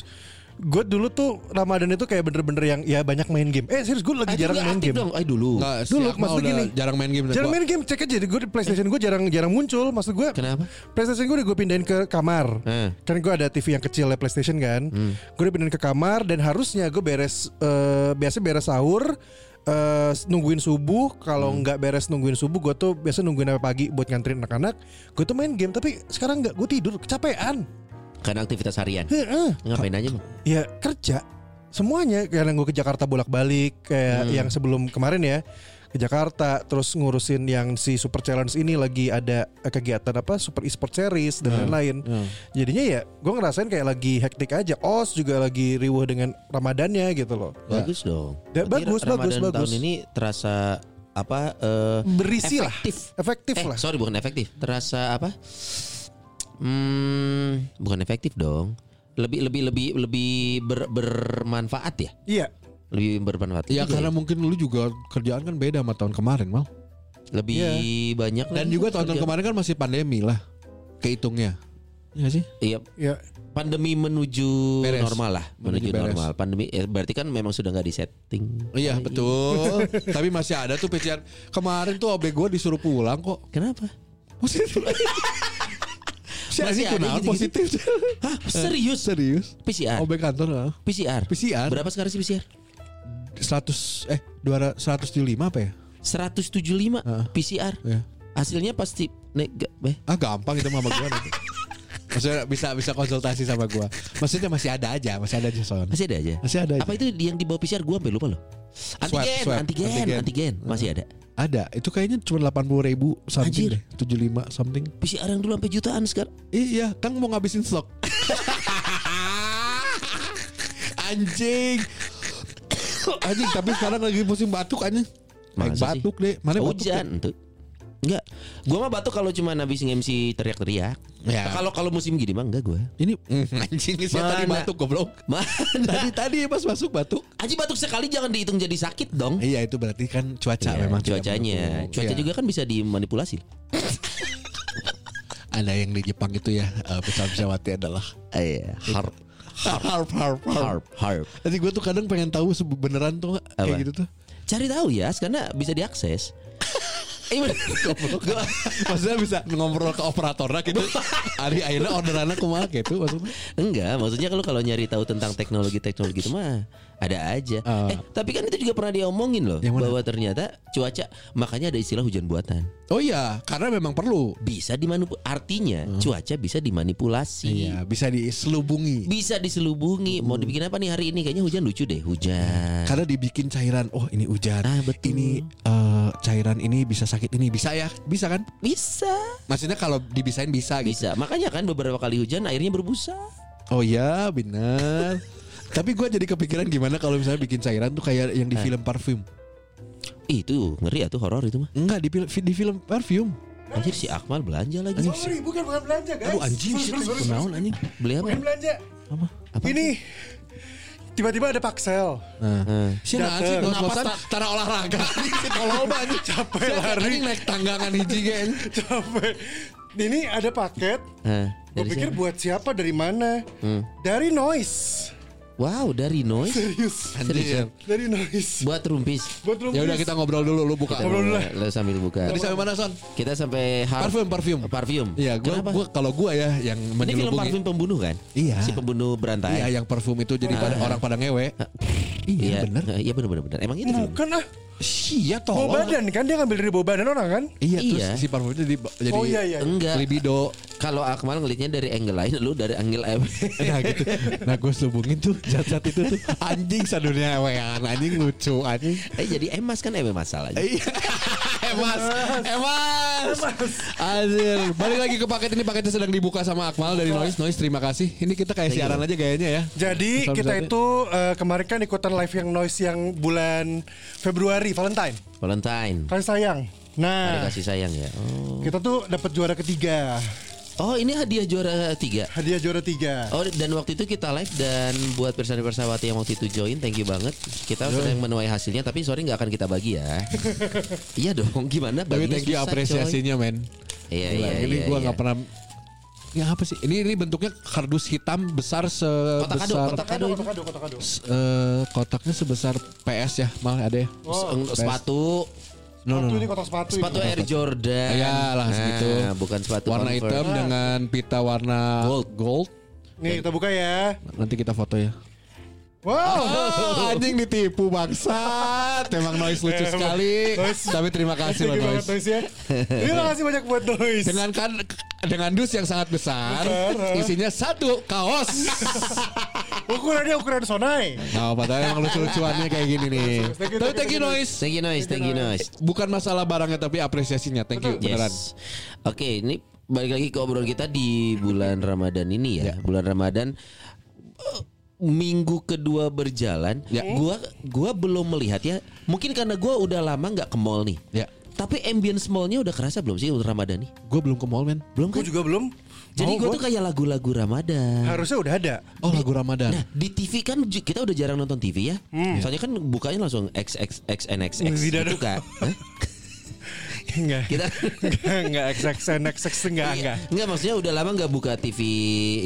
S5: Gue dulu tuh Ramadan itu kayak bener-bener yang ya banyak main game. Eh serius gue lagi
S3: Ah, itu
S5: jarang
S3: nggak
S5: main
S3: aktif
S5: game.
S3: dong. Ay dulu.
S2: Enggak,
S5: Dulu,
S2: dulu
S5: maksudnya
S2: udah
S5: gini.
S2: jarang main game.
S5: Jarang main game cek aja gue di PlayStation gue jarang jarang muncul maksud gue
S3: Kenapa?
S5: PlayStation gue udah gue pindahin ke kamar
S3: Eh. Hmm.
S5: kan gue ada TV yang kecil ya PlayStation kan gue udah pindahin ke kamar dan harusnya gue beres eh, biasa beres sahur eh, nungguin subuh kalau
S3: Hmm.
S5: nggak beres nungguin subuh gue tuh biasa nungguin sampai pagi buat nganterin anak-anak gue tuh main game tapi sekarang nggak gue tidur kecapean
S3: Karena aktivitas harian.
S5: Heeh.
S3: Ngapain aja? Bang?
S5: ya kerja semuanya karena gue ke Jakarta bolak-balik
S2: Hmm.
S5: kayak yang sebelum kemarin ya ke Jakarta terus ngurusin yang si Super Challenge ini lagi ada eh, kegiatan apa Super Esport Series
S2: Hmm.
S5: dan lain-lain jadinya ya gue ngerasain kayak lagi hektik aja os juga lagi riuh dengan Ramadannya gitu loh
S3: Bagus dong.
S5: Ya,
S3: Berarti
S5: bagus, bagus,
S3: Ramadan
S5: bagus.
S3: tahun ini terasa apa eh,
S5: berisi lah
S3: efektif.
S5: efektif
S3: Eh,
S5: lah
S3: sorry bukan efektif. Terasa apa? Hmm, bukan efektif dong. Lebih lebih lebih lebih ber- bermanfaat ya.
S5: iya
S3: Lebih bermanfaat.
S2: Ya
S3: Iya, juga
S2: karena mungkin lu juga kerjaan kan beda sama tahun kemarin, Mal.
S3: lebih
S5: Iya. Nah,
S3: banyak
S2: Dan
S3: lagi
S2: juga tahun-tahun
S3: kerja.
S2: kemarin kan masih pandemi lah. Kehitungnya. Iya nggak sih?
S3: Iya,
S5: iya
S3: pandemi menuju
S2: Beres.
S3: normal lah, menuju
S2: Menuju beres.
S3: normal. Pandemi ya, berarti kan memang sudah nggak disetting.
S2: Iya betul. Tapi masih ada tuh PCR. Kemarin tuh OB gue disuruh pulang kok.
S3: Kenapa? [LAUGHS]
S2: Positif. Si anjing
S3: Masih ada
S2: kenal
S3: gitu-gitu?
S2: positif.
S3: Hah,
S2: Eh,
S3: Nah. serius?
S2: Serius?
S3: PCR.
S2: OB kantor ah.
S3: PCR.
S2: PCR.
S3: Berapa sekarang sih PCR?
S2: 100 eh 200 105 apa ya?
S3: 175 PCR.
S2: Iya.
S3: Hasilnya pasti neg eh,
S2: Ah gampang itu sama gue nanti. Maksudnya bisa bisa konsultasi sama gue. Maksudnya masih ada aja, masih ada aja soalnya.
S3: masih ada aja.
S2: Masih ada aja.
S3: Apa itu yang dibawa PCR gua sampai lupa loh. Antigen,
S2: swab.
S3: antigen,
S2: Antigen.
S3: antigen, masih ada.
S2: Ada. Itu kayaknya cuma 80 ribu
S3: Anjir.
S2: something. deh, 75 something.
S3: PCR yang dulu sampai jutaan sekarang.
S2: Iya, Kang mau ngabisin stok. anjing. Anjing, tapi sekarang lagi musim batuk anjing. Naik
S3: Masa sih?
S2: batuk deh. Mana batuk,
S3: hujan tuh. Enggak. Gua mah batuk kalau cuma habis nge-MC teriak-teriak.
S2: Ya.
S3: Kalau kalau musim gini mah enggak gua. [LAUGHS]
S2: Ini mm, anjing saya tadi
S3: Mana?
S2: batuk goblok.
S3: Mana?
S2: Tadi tadi pas masuk batuk.
S3: Aji batuk sekali jangan dihitung jadi sakit dong.
S2: Iya itu berarti kan cuaca
S3: Iya,
S2: memang tidak
S3: cuacanya.
S2: mendukung.
S3: Cuaca
S2: Iya.
S3: juga kan bisa dimanipulasi.
S2: ada yang di Jepang itu ya eh, pesawat pesawatnya adalah
S3: Eh, harp,
S2: harp harp Iya. harp.
S3: harp, harp.
S2: Nanti gue tuh kadang pengen tahu se- beneran tuh nggak kayak
S3: Apa?
S2: gitu tuh.
S3: Cari tahu ya, karena bisa
S2: [LAUGHS]
S3: diakses. Iya bener. Gua-
S2: Maksudnya bisa ngobrol ke operatornya gitu. Ari akhirnya orderannya kumaha gitu maksudnya.
S3: Enggak, maksudnya kalau kalau nyari tahu tentang teknologi-teknologi itu mah ada aja.
S2: Ah.
S3: Eh, tapi kan itu juga pernah diomongin loh
S2: Yang mana?
S3: bahwa ternyata cuaca makanya ada istilah hujan buatan.
S2: Oh iya, karena memang perlu.
S3: Bisa dimanipulasi. Artinya cuaca bisa dimanipulasi.
S2: Hmm. Iya, Hmm. bisa diselubungi.
S3: Bisa diselubungi. Mau dibikin apa nih hari ini? Kayaknya hujan lucu deh, hujan.
S2: Karena dibikin cairan, oh ini hujan,
S3: Ah, betul.
S2: ini eh, cairan ini bisa sakit ini bisa ya, bisa kan?
S3: Bisa.
S2: Maksudnya kalau dibisain bisa gitu.
S3: Bisa. Makanya kan beberapa kali hujan airnya berbusa.
S2: Oh iya benar. [LAUGHS] Tapi gue jadi kepikiran gimana kalau misalnya bikin cairan tuh kayak yang di film parfum.
S3: Ih, itu ngeri atau horor itu mah.
S2: Enggak di, fil- di film parfum.
S3: Anjir si Akmal belanja lagi.
S9: Sorry, bukan bukan belanja guys.
S2: Aduh anjing shit, kenaon anjing.
S3: Beli
S9: Bukan
S3: apa?
S9: belanja.
S2: Apa? Apa?
S9: Ini tiba-tiba ada paksel.
S2: Si nah, anjing ngos-ngosan tara olahraga. Si tolol banget capek lari. naik tanggangan hiji gen.
S9: Capek. Ini ada paket.
S3: Hah,
S9: Gue
S3: dari
S9: pikir
S3: siapa?
S9: buat siapa dari mana? Dari noise.
S3: Wow, dari noise.
S9: Serius.
S2: Anjir.
S9: Dari noise.
S3: Buat rumpis.
S9: Buat lu.
S2: Ya udah kita ngobrol dulu lu buka.
S3: Kita
S9: Ngobrol dulu lah.
S3: Lo sambil buka.
S2: Tadi sampai mana Son?
S3: Kita sampai har-
S2: Parfum, parfum.
S3: Parfum.
S2: Iya, gua,
S3: Kenapa?
S2: gua kalau gua ya yang
S3: Ini film
S2: menyelubungi.
S3: parfum pembunuh kan?
S2: Iya.
S3: Si pembunuh berantai.
S2: Iya, yang parfum itu jadi
S3: Ah.
S2: pada orang pada ngewe. Iya, bener.
S3: Iya benar benar benar. Emang itu film.
S9: Bukan ah.
S2: Iya
S9: Bau
S2: tolol.
S9: badan kan dia ngambil dari bau badan orang kan?
S2: Iya,
S3: Iya.
S2: terus si parfum itu jadi jadi
S9: oh iya iya.
S3: Enggak. [LAUGHS]
S2: libido.
S3: Kalau Akmal ngelihatnya dari angle lain, lu dari angle M. [LAUGHS]
S2: Nah gitu Nah gue selubungin tuh Zat-zat itu tuh Anjing sadunya ewean Anjing lucu
S3: [LAUGHS]
S2: Anjing
S3: eh jadi emas kan em masalahnya.
S2: Iya.
S3: Eh,
S2: Emas Emas Eh, Anjir Balik lagi ke paket ini Paketnya sedang dibuka sama Akmal Dari Noise Noise terima kasih Ini kita kayak siaran aja gayanya ya
S9: Jadi
S2: Sampai
S9: kita
S2: saat ini.
S9: itu eh, kemarin kan ikutan live yang noise yang bulan Februari Valentine.
S3: Valentine.
S9: Kasih sayang.
S3: Ada
S2: Iya.
S9: Nah,
S3: kasih sayang ya. Oh.
S9: kita tuh dapat juara ketiga.
S3: Oh, ini hadiah juara tiga.
S9: Hadiah juara tiga.
S3: Oh dan waktu itu kita live dan buat Pirsan Persawati yang waktu itu join thank you banget kita sedang menuai hasilnya tapi sorry nggak akan kita bagi
S2: [LAUGHS]
S3: ya iya dong gimana
S2: Tapi
S3: baginya
S2: thank you
S3: susah, coy.
S2: apresiasinya men
S3: iya
S2: Gila,
S3: iya
S2: Ini
S3: iya,
S2: gue
S3: iya.
S2: gak pernah Ya apa sih Ini ini bentuknya kardus hitam Besar
S3: kotak kado
S2: sebesar
S3: kotak kado
S9: Kado,
S3: itu
S9: kado, kado, kado.
S2: S- eh, Kotaknya sebesar PS ya Mal ada ya
S3: Se- sepatu
S2: No no,
S9: Sepatu ini
S2: no.
S9: kotak sepatu.
S3: sepatu
S9: ini.
S3: Air Jordan
S2: Ya lah segitu
S3: Nah, bukan sepatu
S2: Warna
S3: Converse.
S2: hitam dengan pita warna
S3: Gold.
S2: gold.
S9: Nih kita buka ya.
S2: Nanti kita foto ya.
S9: Wow.
S2: [LAUGHS] anjing ditipu bangsat. Emang noise lucu sekali. Tapi terima kasih
S9: Thank
S2: loh
S9: you banget
S2: noise.
S9: noise ya. Terima kasih banyak buat noise.
S2: Dengan kan dengan dus yang sangat besar, isinya satu kaos.
S9: Ukurannya ukuran sonai.
S2: Nah, padahal emang lucu-lucuannya kayak gini nih.
S9: Thank you,
S2: Tapi
S9: thank
S2: thank you
S9: you,
S2: noise.
S3: thank you noise thank you noise
S2: Bukan masalah barangnya tapi apresiasinya. Thank you beneran.
S3: Yes. Oke, ini balik lagi ke obrolan kita di bulan Ramadan ini ya. Bulan Ramadan eh, minggu kedua berjalan, gua gua belum melihat ya. Mungkin karena gua udah lama nggak ke mall nih.
S2: Ya.
S3: Tapi ambience mallnya udah kerasa belum sih untuk Ramadan nih?
S2: Gue belum ke mall, men.
S3: Belum
S9: Gue
S3: kan?
S9: juga belum. Mau
S3: Jadi gua
S9: gua.
S3: tuh kayak lagu-lagu Ramadan.
S9: harusnya udah ada.
S2: Oh, lagu Ramadan.
S3: Nah, di TV kan ju- kita udah jarang nonton TV ya. Soalnya kan bukanya langsung XXXNXX
S9: Tidak
S3: gitu
S9: dong.
S3: kan. Hah?
S9: Enggak.
S3: Kita
S9: Enggak, enggak XX NXX enggak,
S2: Iya.
S9: enggak. Ya,
S3: Enggak maksudnya udah lama nggak buka TV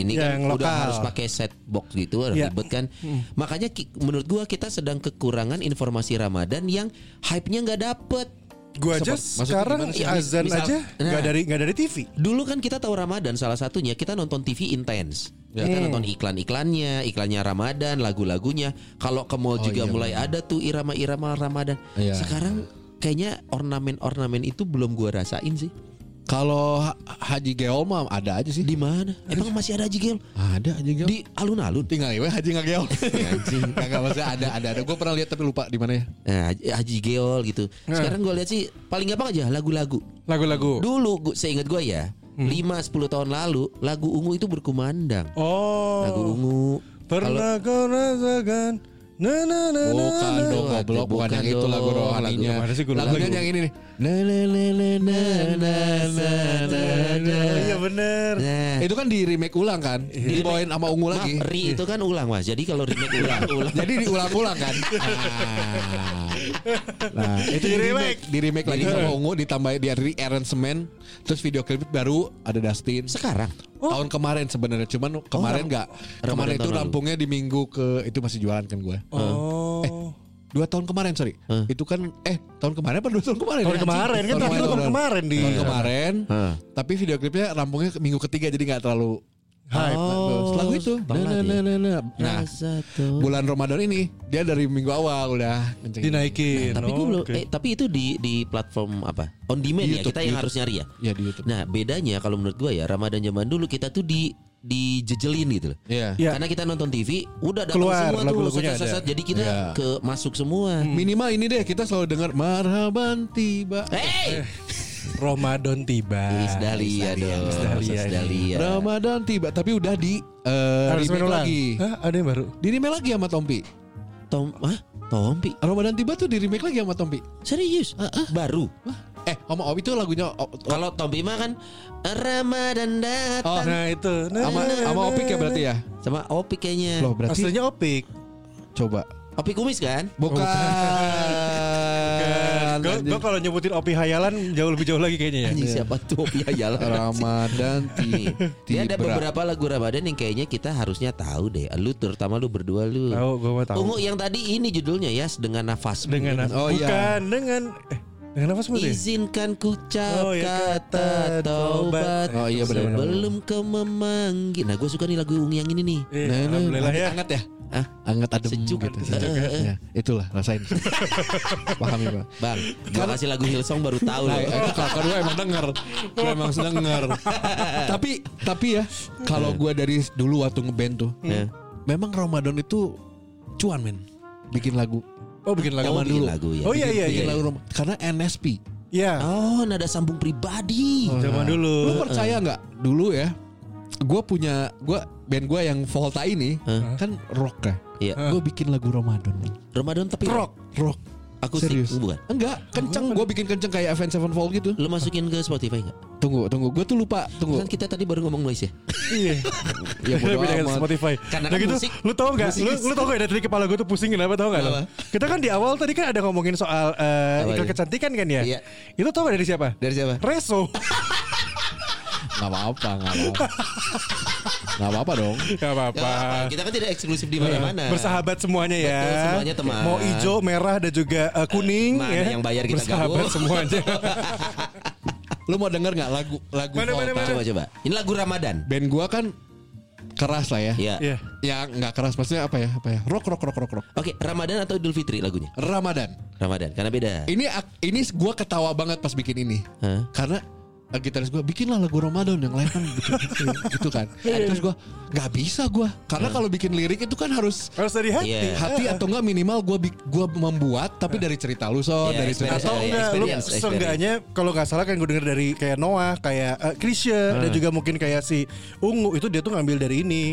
S3: ini kan
S9: Yang
S3: udah
S9: lokal.
S3: harus pakai set box gitu
S9: Iya.
S3: ribet kan. Makanya ki- menurut gua kita sedang kekurangan informasi Ramadan yang hype-nya nggak dapet.
S9: Gua aja
S2: Maksudnya gimana
S9: sekarang
S2: sih?
S9: azan
S3: Misal-
S9: aja enggak
S3: Nah.
S9: dari enggak dari TV.
S3: Dulu kan kita tahu Ramadan salah satunya kita nonton TV intens. Ya, Kita
S9: Hmm.
S3: nonton iklan-iklannya, iklannya Ramadan, lagu-lagunya. Kalau ke
S9: Oh,
S3: mall juga
S9: iya,
S3: mulai ada tuh irama-irama Ramadan.
S2: Iya.
S3: Sekarang kayaknya ornamen-ornamen itu belum gua rasain sih.
S2: Kalau Ha- Haji Geol mah ada aja sih.
S3: Di mana? Nah, Emang masih ada Haji Geol?
S2: Ada Haji
S9: Iya.
S2: Geol.
S3: Di alun-alun.
S2: tinggal ya Haji nggak Geol. Anjing. Kagak maksudnya ada ada ada. Gue pernah lihat tapi lupa di mana ya.
S3: Nah, Haji- Haji Geol gitu.
S2: Nah.
S3: Sekarang gue lihat sih paling gampang aja lagu-lagu.
S8: Lagu-lagu.
S3: Dulu gua, seingat gue ya,
S2: Hmm.
S3: 5-10 tahun lalu lagu ungu itu berkumandang.
S8: Oh.
S3: Lagu ungu.
S8: Pernah kau rasakan na na na na.
S2: Bukan
S3: Aduh,
S2: dong goblok
S3: bukan
S2: bukan yang itu
S3: dong.
S2: lagu rohaninya.
S8: Lagu mana sih gua lupa
S2: Lagunya
S8: gua.
S2: yang ini nih. Na, na, na, na, na, na, na, na, na.
S8: Iya bener.
S3: Nah,
S2: Itu kan di remake ulang kan? Dibawain sama ungu
S3: Maaf,
S2: lagi.
S3: Ri itu kan ulang mas. Jadi kalau remake
S2: [LAUGHS]
S3: ulang, ulang.
S2: Jadi diulang-ulang kan? Ah. Nah, itu di remake, di remake lagi sama ungu ditambah di rearrangement terus video klip baru ada Dustin.
S3: Sekarang
S2: Tahun kemarin sebenarnya cuman kemarin
S3: ram-
S2: nggak
S3: Ramadan
S2: kemarin itu
S3: tahun lalu.
S2: rampungnya di minggu ke itu masih jualan kan gue.
S8: Oh.
S9: Eh,
S2: Dua tahun kemarin sorry. Itu kan eh tahun kemarin apa dua tahun kemarin?
S5: Tahun
S2: Ya,
S5: kemarin kan terakhir tahun kemarin di
S2: Tahun kemarin. Tapi video klipnya rampungnya ke minggu ketiga jadi nggak terlalu hype.
S3: Oh,
S2: Lagu itu. Nah, nah,
S3: balat ya.
S2: nah, nah, nah. Nah,
S3: rasa tuh.
S2: bulan Ramadan ini dia dari minggu awal udah kenceng.
S5: dinaikin.
S2: Nah,
S3: Tapi gue
S5: Oh,
S3: belum.
S5: oke.
S3: Eh, tapi itu di di platform apa? On demand
S2: Di
S3: ya.
S2: YouTube,
S3: Kita yang
S2: YouTube.
S3: harus nyari ya.
S2: Ya di YouTube.
S3: Nah bedanya kalau menurut gue ya Ramadan zaman dulu kita tuh di dijejelin gitu loh.
S2: Iya.
S5: Iya.
S3: Karena kita nonton TV udah datang
S5: Keluar,
S3: semua tuh
S5: lagu-lagunya ada.
S3: sesat-sesat. Jadi kita
S2: Iya.
S3: ke masuk semua.
S2: Hmm. Minimal ini deh kita selalu dengar marhaban tiba.
S3: Hey,
S5: Ramadan tiba.
S3: Is
S2: ya
S3: Dahlia
S2: iya.
S3: dong, Is Dahlia.
S2: Ramadan tiba tapi udah di eh,
S5: Harus main
S2: remake
S5: ulang.
S2: lagi.
S5: Hah, ada yang baru.
S2: Di remake lagi sama Tompi.
S3: Tom, ah, Tompi,
S2: Ramadan tiba tuh di remake lagi sama Tompi.
S3: serius?
S2: Ah,
S3: Baru.
S2: Eh, sama Obi itu lagunya o- o-
S3: Kalau Tompi mah kan Ramadan
S2: Oh,
S3: datang
S5: Nah, itu. Nah,
S2: sama sama Opik ya berarti ya.
S3: sama Opik kayaknya.
S2: Loh, berarti
S5: Aslinya Opik.
S2: coba.
S3: Opik kumis kan?
S2: Bukan.
S5: Oh, Gue
S2: Anjing.
S5: gue kalau nyebutin Opi Hayalan jauh lebih jauh lagi kayaknya ya.
S3: Anjing siapa tuh Opik Ayala?
S2: Ramadan
S3: Nih,
S2: tiba.
S3: Dia ada beberapa lagu Ramadan yang kayaknya kita harusnya tahu deh. Lu terutama lu berdua lu.
S5: Tahu, gue mah tahu.
S3: Ungu yang tadi ini judulnya ya dengan nafas.
S5: Dengan oh,
S2: Oh, iya.
S5: bukan dengan eh dengan apa sebenarnya?
S3: Izinkan ku cap
S5: Oh, ya,
S3: kata
S5: kata taubat.
S3: taubat
S2: Oh, iya, benar, benar,
S3: Sebelum kau memanggil Nah gue suka nih lagu ungu yang ini nih
S5: Eh,
S2: Nah, nah,
S5: alhamdulillah ya.
S2: Anget ya.
S3: Hah?
S2: Anget adem
S3: Sejuk.
S2: gitu.
S3: Sejuk,
S2: Ya, itulah rasain. [LAUGHS] Pahami, Pak.
S3: Bang gue kasih lagu Hillsong baru tahu
S2: Nah,
S3: loh
S2: itu kalau kedua emang denger Gue emang denger Tapi Tapi ya Kalau gue dari dulu waktu ngeband tuh
S3: Iya.
S2: Memang Ramadan itu Cuan men Bikin lagu
S5: Oh, bikin lagu.
S2: Zaman
S3: bikin
S2: dulu
S3: lagu ya.
S5: Oh iya iya iya.
S2: Bikin lagu Ram- Karena NSP
S5: Iya.
S3: Oh nada sambung pribadi
S5: Zaman
S2: Lu
S5: dulu.
S2: percaya nggak Dulu ya Gue punya gua Band gue yang Volta ini
S3: Hah?
S2: Kan rock ya
S3: Iya.
S2: Gue bikin lagu Ramadan men.
S3: Ramadan tapi
S2: Rock Rock
S3: Aku
S2: Serius
S3: Bukan
S2: Enggak Kenceng Gue bikin kenceng kayak Avenged Sevenfold gitu
S3: Lu masukin ke Spotify gak?
S2: Tunggu tunggu Gue tuh lupa Tunggu
S3: Kan kita tadi baru ngomong Malaysia
S5: Iya.
S2: Ya
S5: Beda
S2: bodo
S5: dengan
S2: amat
S5: Spotify.
S3: Karena
S5: Nah
S3: kan
S5: gitu,
S3: musik-
S5: lu tau gak?
S3: musik
S5: Lu,
S3: is-
S5: lu tau gak dari kepala gue tuh pusing kenapa tau gak? Lo? Kita kan di awal tadi kan ada ngomongin soal eh,
S3: Apa
S5: iklan
S3: itu?
S5: kecantikan kan ya?
S3: Iya.
S5: Itu tau gak dari siapa?
S3: Dari siapa?
S5: Reso.
S2: Gak apa-apa, gak apa-apa. gak apa-apa dong.
S5: [LAUGHS] gak apa-apa.
S3: Kita kan tidak eksklusif di
S2: Iya,
S3: mana-mana
S5: Bersahabat semuanya ya.
S3: Betul, semuanya teman.
S5: Mau hijau, merah dan juga eh, kuning
S3: Mana
S5: ya.
S3: yang bayar kita [LAUGHS]
S5: Bersahabat
S3: gabung.
S5: semuanya.
S2: Lu mau denger gak lagu lagu
S5: Mana,
S2: Volta?
S5: mana, mana?
S3: Coba-coba Ini lagu Ramadan
S2: Band gua kan keras lah ya.
S3: Iya
S5: Iya.
S2: Ya nggak keras maksudnya apa ya? Apa ya? Rock rock rock rock rock.
S3: Oke Ramadan atau Idul Fitri lagunya?
S2: Ramadan.
S3: Ramadan Karena beda
S2: Ini ak- ini gua ketawa banget pas bikin ini.
S3: Hah?
S2: Karena eh, gitaris gua bikinlah lagu Ramadan yang lain kan gitu, gitu
S5: [LAUGHS]
S2: kan.
S5: Iya,
S2: Terus gua nggak bisa gua. Karena kalau bikin lirik itu kan harus
S5: Harus dari hati.
S3: Iya.
S2: hati atau enggak minimal gua bik- gua membuat tapi dari cerita lu so,
S3: Iya,
S2: dari cerita
S5: Atau
S3: Iya, iya,
S5: enggak lu
S3: experience, experience.
S5: seenggaknya kalau nggak salah kan gue denger dari kayak Noah, kayak eh, Krisya
S3: Hmm.
S5: dan juga mungkin kayak si Ungu itu dia tuh ngambil dari ini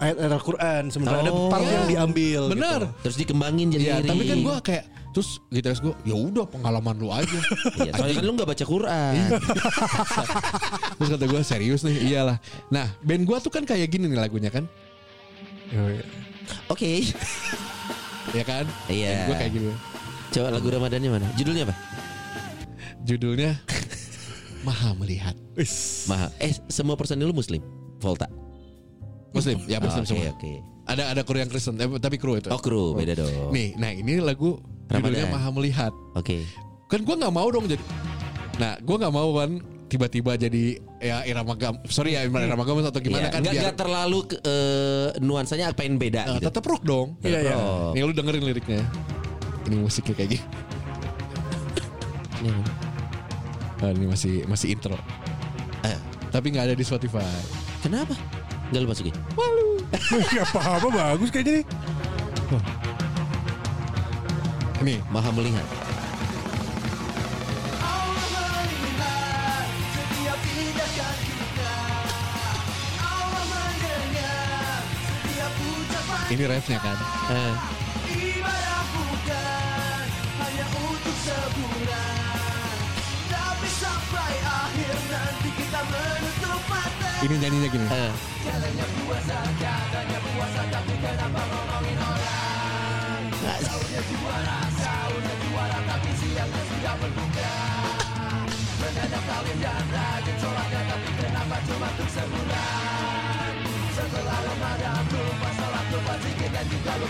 S5: ayat-ayat Al-Qur'an sementara ada
S3: Oh.
S5: part
S2: Iya.
S5: yang diambil.
S2: Bener.
S5: gitu.
S3: Terus dikembangin jadi
S2: Iya,
S3: lirik.
S2: tapi kan gua kayak terus gitaris gua, ya udah pengalaman lu aja.
S3: [LAUGHS] Iya, soalnya kan lu gak baca Quran.
S2: Iya. terus kata gua serius nih, iyalah. Nah, band gua tuh kan kayak gini nih lagunya kan,
S3: Oke.
S2: ya kan?
S3: Iya.
S2: Band gua kayak gini.
S3: Coba lagu Ramadannya mana? Judulnya apa?
S2: Judulnya Maha Melihat.
S3: Maha. Eh, semua personil lu muslim. Volta.
S2: Muslim, ya Muslim
S3: Oke,
S2: semua.
S3: oke.
S2: Ada ada kru yang Kristen, eh, tapi kru itu.
S3: iya. Oh, kru beda dong. Oke.
S2: Nih, nah ini lagu judulnya
S3: Ramadan.
S2: Maha Melihat. Kan gua nggak mau dong jadi. Nah, gua nggak mau kan tiba-tiba jadi ya irama gam, sorry ya irama gam atau gimana
S3: Iya,
S2: kan
S3: nggak-
S2: biar
S3: nggak terlalu ke- eh, nuansanya apa yang beda
S2: Nah,
S3: gitu.
S2: tetap rock dong.
S3: Iya, iya.
S2: Nih lu dengerin liriknya. ya. Ini musiknya kayak gini.
S3: Nih,
S2: Ah, ini masih masih intro. Tapi nggak ada di Spotify.
S3: Kenapa? Gak lu masukin.
S8: Gak apa-apa bagus kayaknya nih.
S2: Nih,
S3: Maha melihat.
S2: ini refnya kan.
S3: Eh,
S2: Ini nyanyinya gini.
S3: eh. Nggak sih.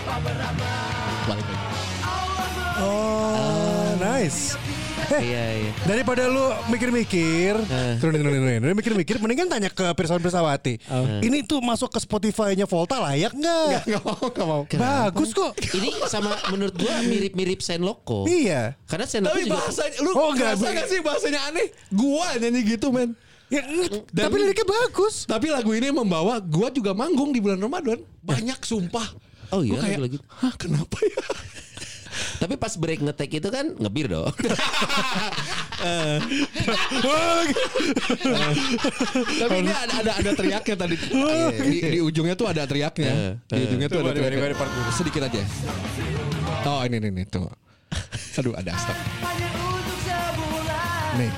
S2: Balik lagi.
S3: Ah.
S5: Oh, nice.
S3: Iya, iya.
S5: Daripada lu mikir-mikir,
S3: Eh.
S5: turunin, turunin, turunin, turunin, mikir-mikir, mendingan tanya ke Pirsawan Pirsawati.
S3: Eh.
S5: Ini tuh masuk ke Spotify-nya Volta layak nggak?
S2: Nggak mau, nggak mau.
S3: Kenapa?
S5: Bagus kok.
S3: Ini sama menurut gua mirip-mirip Senloko.
S5: Iya.
S3: Karena Senloko
S2: Tapi
S3: juga
S2: bahasanya, lu
S5: Oh,
S2: oh,
S5: nggak,
S2: ngerasa
S5: Bu.
S2: nggak sih bahasanya aneh? Gua nyanyi gitu men.
S5: Ya,
S2: Dan-
S5: tapi liriknya bagus.
S2: Tapi lagu ini membawa gua juga manggung di bulan Ramadan. Banyak sumpah.
S3: Oh iya,
S2: Gua kayak,
S3: lagu-lagu.
S2: Hah, kenapa ya?
S3: Tapi pas break ngetek itu kan ngebir dong.
S2: Tapi ini ada ada ada teriaknya tadi. di, di ujungnya tuh ada teriaknya. Di ujungnya tuh ada teriaknya. Sedikit aja. Oh, ini ini, ini tuh. Aduh, ada stop. Nih.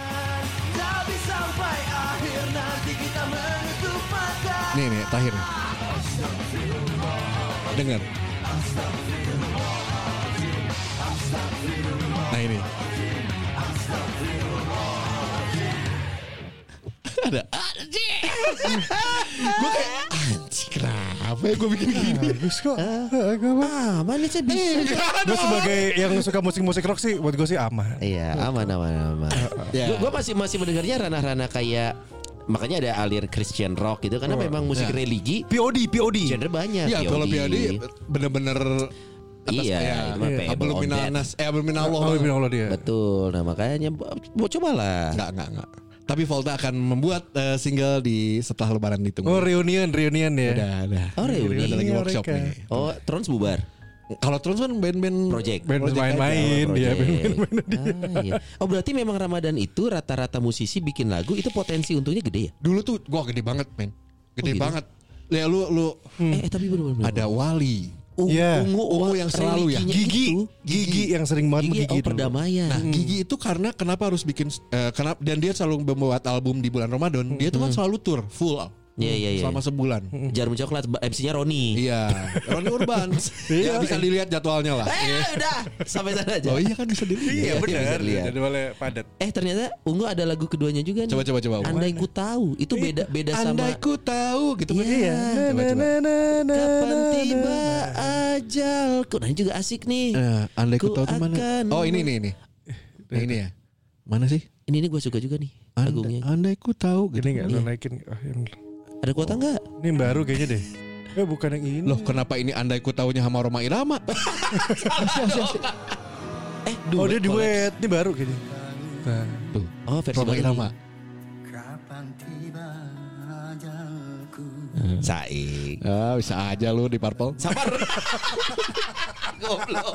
S2: Nih nih, terakhir. nih. Dengar. Nah ini. Ada. Gue kayak anjing kenapa ya gue bikin gini?
S5: Bagus kok. Eh, nggak apa.
S3: Aman nih saya bisa.
S5: Gue sebagai yang suka musik-musik rock sih, buat gue sih aman.
S3: Iya, aman aman aman.
S2: Ya.
S3: Gue masih masih mendengarnya ranah-ranah kayak makanya ada alir Christian rock gitu karena memang musik
S2: Ya.
S3: religi
S5: POD, POD.
S3: genre banyak.
S2: Iya
S3: POD.
S2: kalau PAD bener-bener atas
S3: Iya,
S2: ya.
S3: itu mah payable
S2: Abel
S3: on
S2: minal
S3: that.
S2: nas, eh abel minal Allah.
S5: Oh, Allah dia.
S3: Betul. Nah, makanya mau cobalah.
S2: Enggak, enggak, enggak. Tapi Volta akan membuat eh, single di setelah lebaran ditunggu.
S5: Oh, reunion, reunion ya.
S2: Udah, udah.
S3: Oh, reuni.
S2: Ada lagi
S5: Iya,
S2: workshop
S5: mereka.
S2: nih.
S3: Oh, Trons bubar.
S2: Kalau terus kan band-band
S3: Project.
S5: Band
S2: Project
S5: main-main
S3: Oh,
S5: dia,
S3: project.
S5: band main-main dia.
S3: Ah, iya. Oh, berarti memang Ramadan itu rata-rata musisi bikin lagu itu potensi untungnya gede ya?
S2: Dulu tuh gua gede banget, men. Gede
S3: Oh, gitu?
S2: banget. Ya lu lu
S3: Eh, tapi benar-benar
S2: ada Wali.
S5: Hmm.
S3: ungu,
S5: Iya.
S3: ungu,
S2: Ungu yang selalu ya?
S3: religinya
S5: Gigi,
S3: itu.
S5: gigi yang sering banget
S3: gitu? Gigi,
S5: gigi,
S3: oh, perdamaian.
S2: Nah, Gigi itu karena kenapa harus bikin eh, kenapa dan dia selalu membuat album di bulan Ramadan, dia tuh kan selalu tour full.
S3: Hmm. Iya, iya, iya.
S2: Selama sebulan.
S5: Hmm.
S3: Jarum coklat ba- MC-nya Roni.
S2: Iya, Ronnie Urban. [LAUGHS] ya bisa dilihat jadwalnya lah.
S3: Eh, udah. Sampai sana
S2: Iya.
S3: aja.
S2: Oh iya kan bisa dilihat.
S3: Iya, bisa dilihat.
S8: Jadwalnya padat.
S3: Eh, ternyata Ungu ada lagu keduanya juga nih.
S2: Coba, coba, coba.
S3: Andai ku tahu. Itu beda beda sama
S2: Andai Nah, ku tahu gitu kan.
S3: Iya.
S2: Coba, coba.
S3: Kapan
S2: nah,
S3: tiba ajalku. Nah, ini juga asik nih.
S2: Eh, andai ku
S3: Ku
S2: tahu tuh mana?
S3: akan
S2: Oh ini ini ini. Nah, ini ya. Mana sih?
S3: Ini ini gue suka juga nih
S2: Andai,
S3: lagunya.
S2: andai ku tahu gitu.
S5: Gini nggak lu naikin? Ah, yang-
S3: Ada kuota nggak?
S5: Ini yang baru kayaknya deh. Eh bukan yang ini.
S2: Loh kenapa ini andai ku tahunya sama Roma Irama?
S3: Eh,
S5: oh dia
S3: collab.
S5: duet. Ini baru kayaknya. Nah.
S2: Tuh,
S3: Oh, versi
S2: Roma
S3: baru
S2: Irama.
S3: nih. Saik.
S2: Ah, bisa aja lu di Purple.
S3: Sabar. [LAUGHS] Goblok.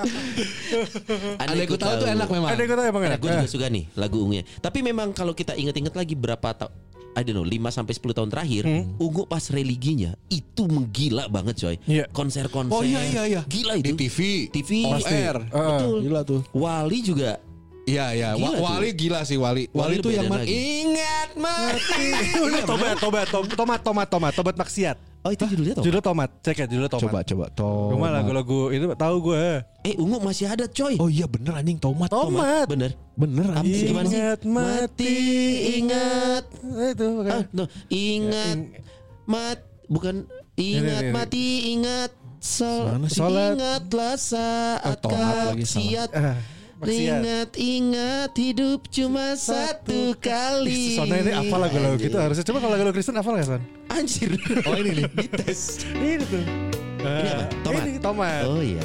S2: Andai ku tahu tuh enak ya. memang.
S5: Ada yang kata emang ya? Ah. enak.
S3: gue juga suka nih lagu ungunya. Tapi memang kalau kita inget-inget lagi berapa tahun I don't know 5 sampai 10 tahun terakhir
S2: Hmm.
S3: Ungu pas religinya itu menggila banget coy.
S5: Iya.
S3: Konser-konser.
S2: Oh iya iya iya.
S3: Gila
S2: Di
S3: itu.
S2: TV.
S3: TV.
S2: On
S3: Pasti.
S2: air.
S3: Betul.
S2: Gila tuh.
S3: Wali juga.
S2: Iya iya. Wa-
S3: Gila tuh.
S2: Wali gila sih Wali.
S3: Wali
S2: Wali, tuh
S3: lebih
S2: yang
S3: ada
S2: men-
S3: lagi.
S2: ingat mati.
S5: [LAUGHS] Udah tobat, tobat, tobat, tomat, tomat, tomat, tobat maksiat.
S3: Oh itu judulnya tuh.
S5: Judul tomat, cek ya judul tomat.
S2: Coba coba.
S5: Gue mah
S2: Tomat.
S5: lagu-lagu itu tahu gue.
S3: Eh Ungu masih ada coy.
S2: Oh iya bener anjing Tomat.
S5: Tomat.
S3: Bener.
S2: Bener
S3: Apa
S2: anjing.
S3: sih gimana sih?
S5: Ingat mati,
S3: ingat.
S5: Eh, Itu
S3: Ah,
S5: bukan.
S3: no. Ingat mat bukan ingat
S5: Iya, Ini, ini, ini.
S3: mati ingat sol
S2: Mana
S5: sih? Eh, Sholat.
S3: ingatlah saat
S2: Oh, tomat lagi,
S3: maksiat.
S5: Ah, maksiat.
S3: Ingat ingat hidup cuma satu, kali.
S5: Sona ini apa lagu-lagu gitu harusnya. Coba kalau lagu-lagu Kristen apa nggak Son?
S3: Anjir. Oh ini nih. [LAUGHS] Dites.
S5: Ini tuh.
S3: Ini apa? Tomat.
S5: Eh, Ini tomat.
S3: Oh iya.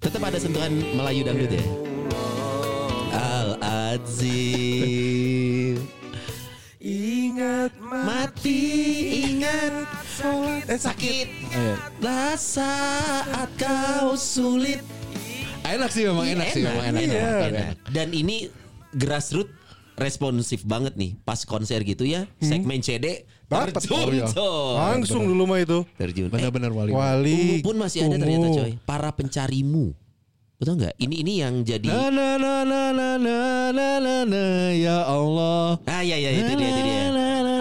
S3: Tetap ada sentuhan Melayu dangdut
S5: [LAUGHS]
S3: ya. Al Azim. Ingat mati, hati ingat eh, sakit lah saat kau sulit
S2: Enak sih memang enak, sih memang enak.
S3: iya.
S2: memang enak.
S3: dan ini grassroots responsif banget nih pas konser gitu ya segmen CD
S5: Dapat.
S3: terjun
S5: Oh, iya.
S3: coy.
S5: Langsung dulu mah itu.
S3: terjun Eh,
S2: Benar-benar wali.
S5: Wali
S3: Ungu pun masih ada
S5: Ungu.
S3: ternyata coy. Para pencarimu. Betul nggak? Ini ini yang jadi
S2: Na na na na na na na na na ya Allah.
S3: Ah ya ya itu dia itu dia.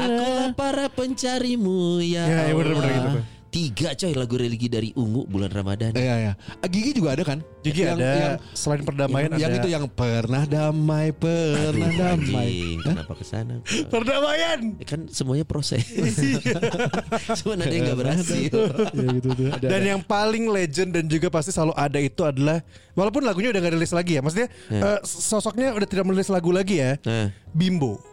S3: Akulah para pencarimu
S5: Ya,
S3: ya.
S5: ya,
S3: Allah.
S5: bener-bener gitu, Pak.
S3: Tiga coy lagu religi dari Ungu bulan Ramadan.
S2: Iya ya. Gigi juga ada kan?
S5: Jadi
S2: Yang-
S5: ada
S2: yang
S5: selain perdamaian
S2: yang
S5: ada
S2: itu ya. yang pernah damai pernah
S3: Aduh,
S2: damai.
S3: anjing, kenapa kesana?
S5: perdamaian.
S3: Eh, Kan semuanya proses. Cuman ada yang nggak berhasil.
S2: Iya,
S5: ya gitu tuh. Dan yang paling legend dan juga pasti selalu ada itu adalah walaupun lagunya udah gak rilis lagi ya, maksudnya eh, sosoknya udah tidak merilis lagu lagi ya.
S3: Nah,
S5: Bimbo.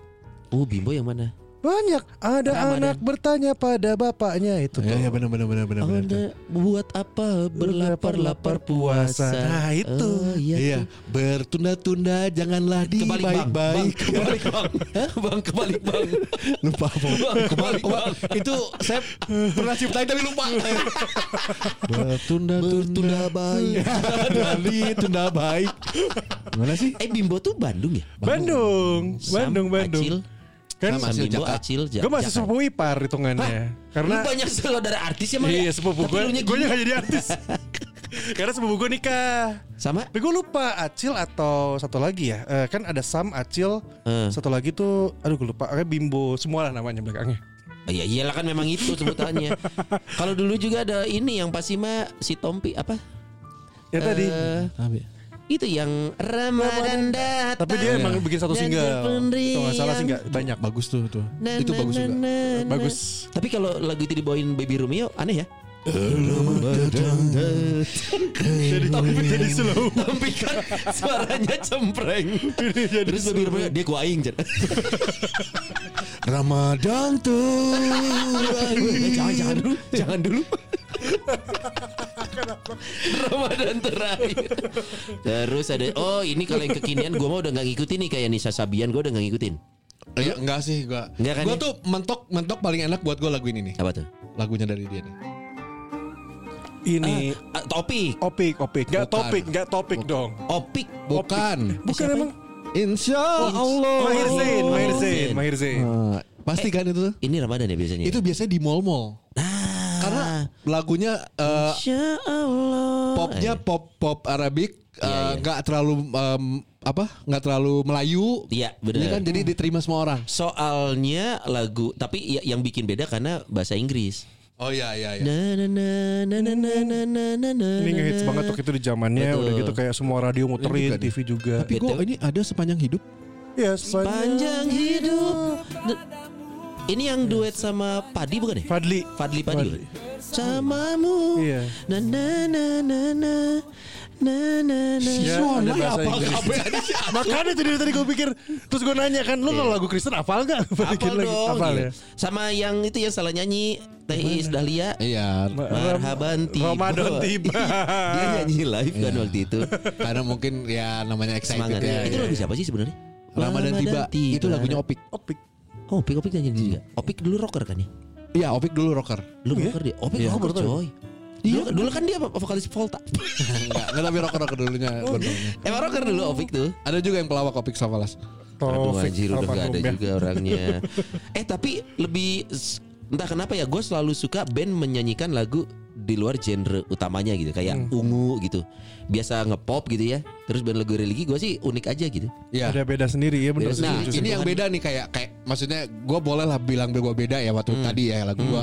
S3: oh Bimbo yang mana?
S5: Banyak ada anak bertanya pada bapaknya itu.
S2: Ya ya benar benar benar benar benar.
S3: Anda buat apa berlapar-lapar puasa?
S5: Nah, itu.
S3: Oh, iya.
S2: Iya,
S3: tuh.
S2: bertunda-tunda janganlah
S3: Kebalik bang, bang,
S2: dibaik-baik.
S3: kebalik bang, bang kebalik bang,
S2: [LAUGHS] Lupa apa?
S3: bang kebalik bang.
S2: Itu saya pernah ciptain tapi lupa. bertunda-tunda
S3: Bertunda
S2: [LAUGHS]
S3: baik.
S2: ditunda baik. Gimana sih?
S3: Eh Bimbo tuh Bandung ya?
S5: Bandung, Bandung,
S3: Sam,
S5: Bandung.
S3: Acil.
S5: Kan
S3: Sam,
S2: Acil,
S3: Bimbo,
S2: Jaka.
S3: Acil, Ja-
S5: gue masih
S3: Jaka.
S5: sepupu ipar hitungannya. Karena
S3: Lu banyak saudara artis ya
S5: Iya sepupu gue Gue
S3: Gue
S5: gak jadi
S3: [LAUGHS]
S5: artis Karena sepupu gue nikah
S3: Sama?
S5: Tapi gue lupa Acil atau satu lagi ya Eh, Kan ada Sam, Acil
S3: Eh.
S5: Satu lagi tuh Aduh gue lupa Kayak Bimbo Semua lah namanya belakangnya
S3: Iya iyalah kan memang itu
S5: [LAUGHS]
S3: sebutannya. Kalau dulu juga ada ini yang pasti mah si Tompi apa?
S5: Ya tadi
S3: Eh, itu yang Ramadan datang.
S5: Tapi dia emang bikin satu
S3: dan
S5: single
S3: berpendirian. Ah.
S5: Itu gak salah sih nggak banyak
S2: Bagus tuh tuh.
S3: Na,
S2: Itu
S3: na,
S2: bagus
S3: na,
S2: juga.
S3: na, na.
S5: Bagus
S3: Tapi kalau lagu itu dibawain Baby Romeo aneh ya.
S5: Jadi tapi jadi slow
S3: Tapi kan suaranya cempreng. Terus Baby Romeo dia gua aing. Jan.
S2: Ramadan [LAUGHS] tuh.
S3: jangan jangan [LAUGHS] dulu, jangan dulu. Ramadan terakhir. Terus ada oh ini kalau yang kekinian gua mah udah nggak ngikutin nih kayak Nisa Sabian gua udah nggak ngikutin.
S2: Ya, enggak sih gua.
S3: Enggak kan,
S2: gua
S3: ya?
S2: tuh mentok mentok paling enak buat gua lagu ini nih.
S3: Apa tuh?
S2: Lagunya dari dia nih.
S5: Ini
S3: Ah, topik,
S5: Opik, opik Gak
S2: Bukan.
S5: topik, gak topik dong
S3: opik. Hmm.
S2: Bukan. Oh,
S5: Bukan emang
S2: Insya Allah.
S5: Mahir Oh, Zain Mahir Zain
S3: Zain.
S5: Mahir Zain
S2: Nah, pasti kan itu tuh.
S3: Ini Ramadan ya biasanya. Ah.
S2: Itu biasanya di mall-mall. Karena lagunya eh,
S3: Insya Allah.
S2: popnya pop pop Arabik eh,
S3: Iya, iya.
S2: nggak terlalu em, apa nggak terlalu Melayu.
S3: Iya,
S2: Iya kan
S3: benar.
S2: jadi diterima semua orang.
S3: Soalnya lagu tapi ya- yang bikin beda karena bahasa Inggris.
S2: Oh iya iya iya.
S3: Na na na na na na na na na na.
S5: Ini ngehits banget waktu itu di zamannya
S3: Betul.
S5: Udah gitu kayak semua radio muterin
S2: Ini juga nih.
S5: TV juga
S2: Tapi gua ini ada sepanjang hidup.
S5: Ya sepanjang
S3: Panjang hidup. Ini yang duet sama Padi bukan ya?
S5: Fadli
S3: Fadli Padi. bukan? Samamu.
S5: Iya.
S3: Na na na na na na na na.
S5: Ya, ada bahasa Inggris. Makanya itu dari tadi gue pikir Terus gue nanya kan Lu
S3: Iya.
S5: kalau lagu Kristen hafal gak?
S3: Apal dong.
S5: Hafal
S3: gitu.
S5: ya
S3: Sama yang itu yang salah nyanyi Teis Dahlia.
S2: Iya.
S3: Marhaban tiba. Iya.
S5: Ramadan tiba.
S3: Dia nyanyi live kan waktu itu.
S2: Karena mungkin ya namanya excited
S3: Semangat.
S2: ya.
S3: itu
S2: iya.
S3: lagu siapa sih sebenarnya?
S2: Ramadan tiba. Itu lagunya Opik.
S5: Opik
S3: Oh, Opik Opik nyanyi juga. Opik dulu rocker kan ya?
S2: Iya, Opik dulu rocker.
S3: Lu rocker dia. Opik rocker coy. Dulu, dulu kan dia vokalis Volta.
S2: Enggak, enggak tapi rocker rocker dulunya. bener-bener.
S3: Emang rocker dulu Opik tuh.
S2: Ada juga yang pelawak Opik Savalas.
S3: Aduh anjir udah
S5: almarhum
S3: gak ada
S5: ya.
S3: juga orangnya [LAUGHS] Eh tapi lebih s- Entah kenapa ya gue selalu suka band menyanyikan lagu di luar genre utamanya gitu Kayak ungu gitu Biasa ngepop gitu ya Terus band lagu religi gue sih unik aja gitu
S2: Iya.
S5: Ada beda sendiri ya bener
S2: Nah,
S5: setuju
S2: ini
S5: sih.
S2: yang beda nih kayak kayak maksudnya gue boleh lah bilang gue beda ya waktu tadi ya lagu gue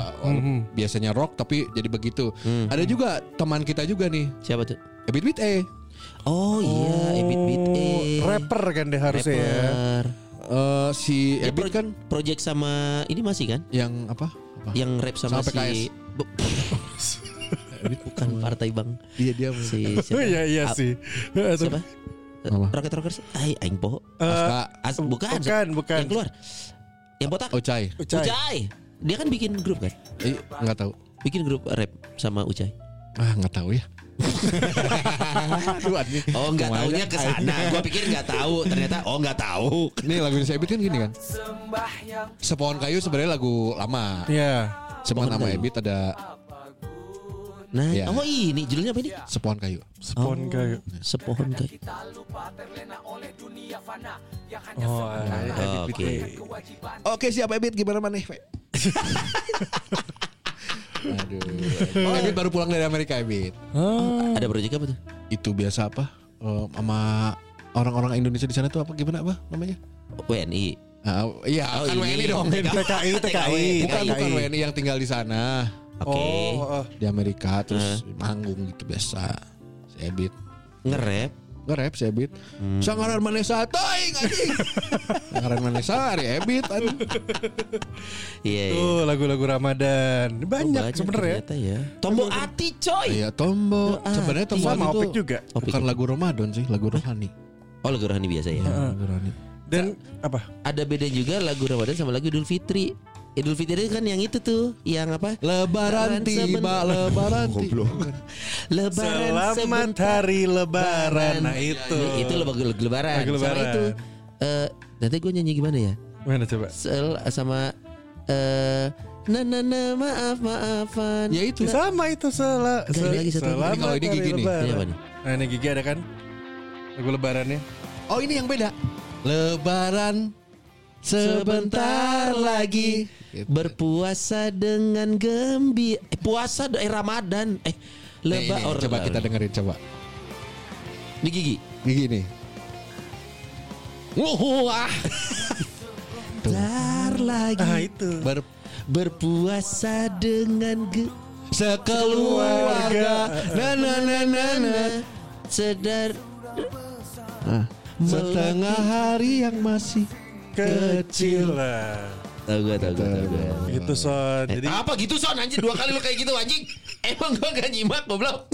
S2: biasanya rock tapi jadi begitu. Ada juga teman kita juga nih,
S3: Siapa tuh?
S2: Ebit Bit E.
S3: Oh iya Ebit Bit E
S5: Oh, Rapper kan deh harusnya ya
S3: Rapper.
S2: Eh, si
S3: Dia
S2: Ebit
S3: pro-
S2: kan
S3: Project sama ini masih kan?
S2: yang apa? apa?
S3: Yang rap sama,
S2: Sama PKS.
S3: si Bu- [LAUGHS] Bukan partai bang
S2: Iya dia
S3: Si siapa?
S5: Iya iya
S3: Ab-
S5: sih
S3: Siapa? Eh,
S2: Apa? Eh,
S3: Rocket Rockers Ay, aing poho
S2: Aska
S3: As, bukan,
S5: Bukan, bukan.
S3: Yang keluar Yang botak
S2: Ocai.
S5: Ucai.
S3: Ucai Dia kan bikin grup kan
S2: Eh, nggak tahu.
S3: Bikin grup rap sama Ucai
S2: [LAUGHS] Ah nggak tahu ya. Eh,
S3: Oh nggak
S2: kan
S3: taunya ke sana. Gua pikir nggak tahu. Ternyata oh nggak tahu.
S2: Ini lagu Indonesia Ebit kan gini kan. Sepohon kayu sebenarnya lagu lama.
S5: Iya.
S2: Cuman
S3: Sepohon
S2: nama
S3: Kayu.
S2: Ebit ada
S3: Nah,
S2: Iya.
S3: oh ini judulnya apa ini?
S2: sepohon kayu.
S3: Oh.
S5: Spon kayu.
S3: Sepohon kayu.
S5: Oh, iya.
S3: Oke.
S2: Oke siapa Ebit gimana maneh? Fe? [LAUGHS] Aduh. Oh, Ebit baru pulang dari Amerika Ebit.
S3: Ada proyek apa tuh?
S2: Itu biasa apa? Eh, sama orang-orang Indonesia di sana tuh apa gimana apa namanya?
S3: WNI.
S2: Ah, iya,
S3: Oh,
S2: kan
S3: ini.
S2: WNI dong.
S5: TKI, TKI.
S3: Iya,
S2: Bukan bukan WNI yang tinggal di sana
S3: Oke.
S5: Oh, eh,
S2: di Amerika terus manggung gitu biasa. Si Ebit
S3: Ngerap.
S2: nge-rap si Ebit. Sangaran Manesa teuing anjing. Sangaran Manesa Ari Ebit anjing.
S3: Iya. iya.
S5: Tuh lagu-lagu Ramadan. Banyak sebenarnya.
S3: ternyata ya. Tombol hati coy.
S2: Iya, Tombo. Sebenarnya Tombo
S5: Sama
S2: itu
S5: Opik juga.
S3: Opik.
S2: bukan lagu Ramadan sih, lagu rohani.
S3: Oh lagu rohani biasa
S5: Eh.
S3: ya.
S2: Lagu rohani.
S5: Dan apa?
S3: Ada beda juga lagu Ramadan sama lagu Idul Fitri. Idul Fitri kan yang itu tuh, yang apa?
S2: Lebaran tiba,
S3: seben-
S2: lebaran tiba.
S5: Selamat
S3: Lebaran sebentar.
S5: hari lebaran. Nah, itu.
S3: Ya, Itu lagu lagu lebaran.
S5: Lagu lebaran.
S3: Sama itu. eh, nanti gue nyanyi gimana ya?
S5: Mana coba?
S3: Sel sama eh na na na maaf maafan.
S2: Ya itu.
S5: Sama itu sela,
S3: Gak,
S5: sel-
S3: lagi Iya, satu.
S5: selamat
S2: Ini kalau ini
S5: hari
S2: gigi nih.
S5: lebaran.
S3: Ini apa nih?
S5: Nah, ini gigi ada kan? Lagu lebarannya.
S2: Oh, ini yang beda. Lebaran
S3: Sebentar lagi
S2: Gitu.
S3: berpuasa dengan gembira. Eh, puasa do- eh Ramadan. Eh
S2: Nih, Nah,
S3: leba
S2: ini,
S3: or-
S2: coba kita dengerin coba.
S3: Ini gigi.
S2: Gigi nih.
S3: Wah. Bentar lagi
S5: Nah, itu.
S2: Ber
S3: berpuasa dengan ge
S2: sekeluarga Nah. na na na na na
S3: sedar
S2: Ah. setengah hari yang masih
S3: Iya.
S5: Kecil lah.
S3: Tahu gue, tahu gue, tahu gue.
S5: Gitu Nah, son. Jadi
S3: Apa gitu son anjir dua kali lu kayak gitu anjing? Emang gua gak nyimak goblok.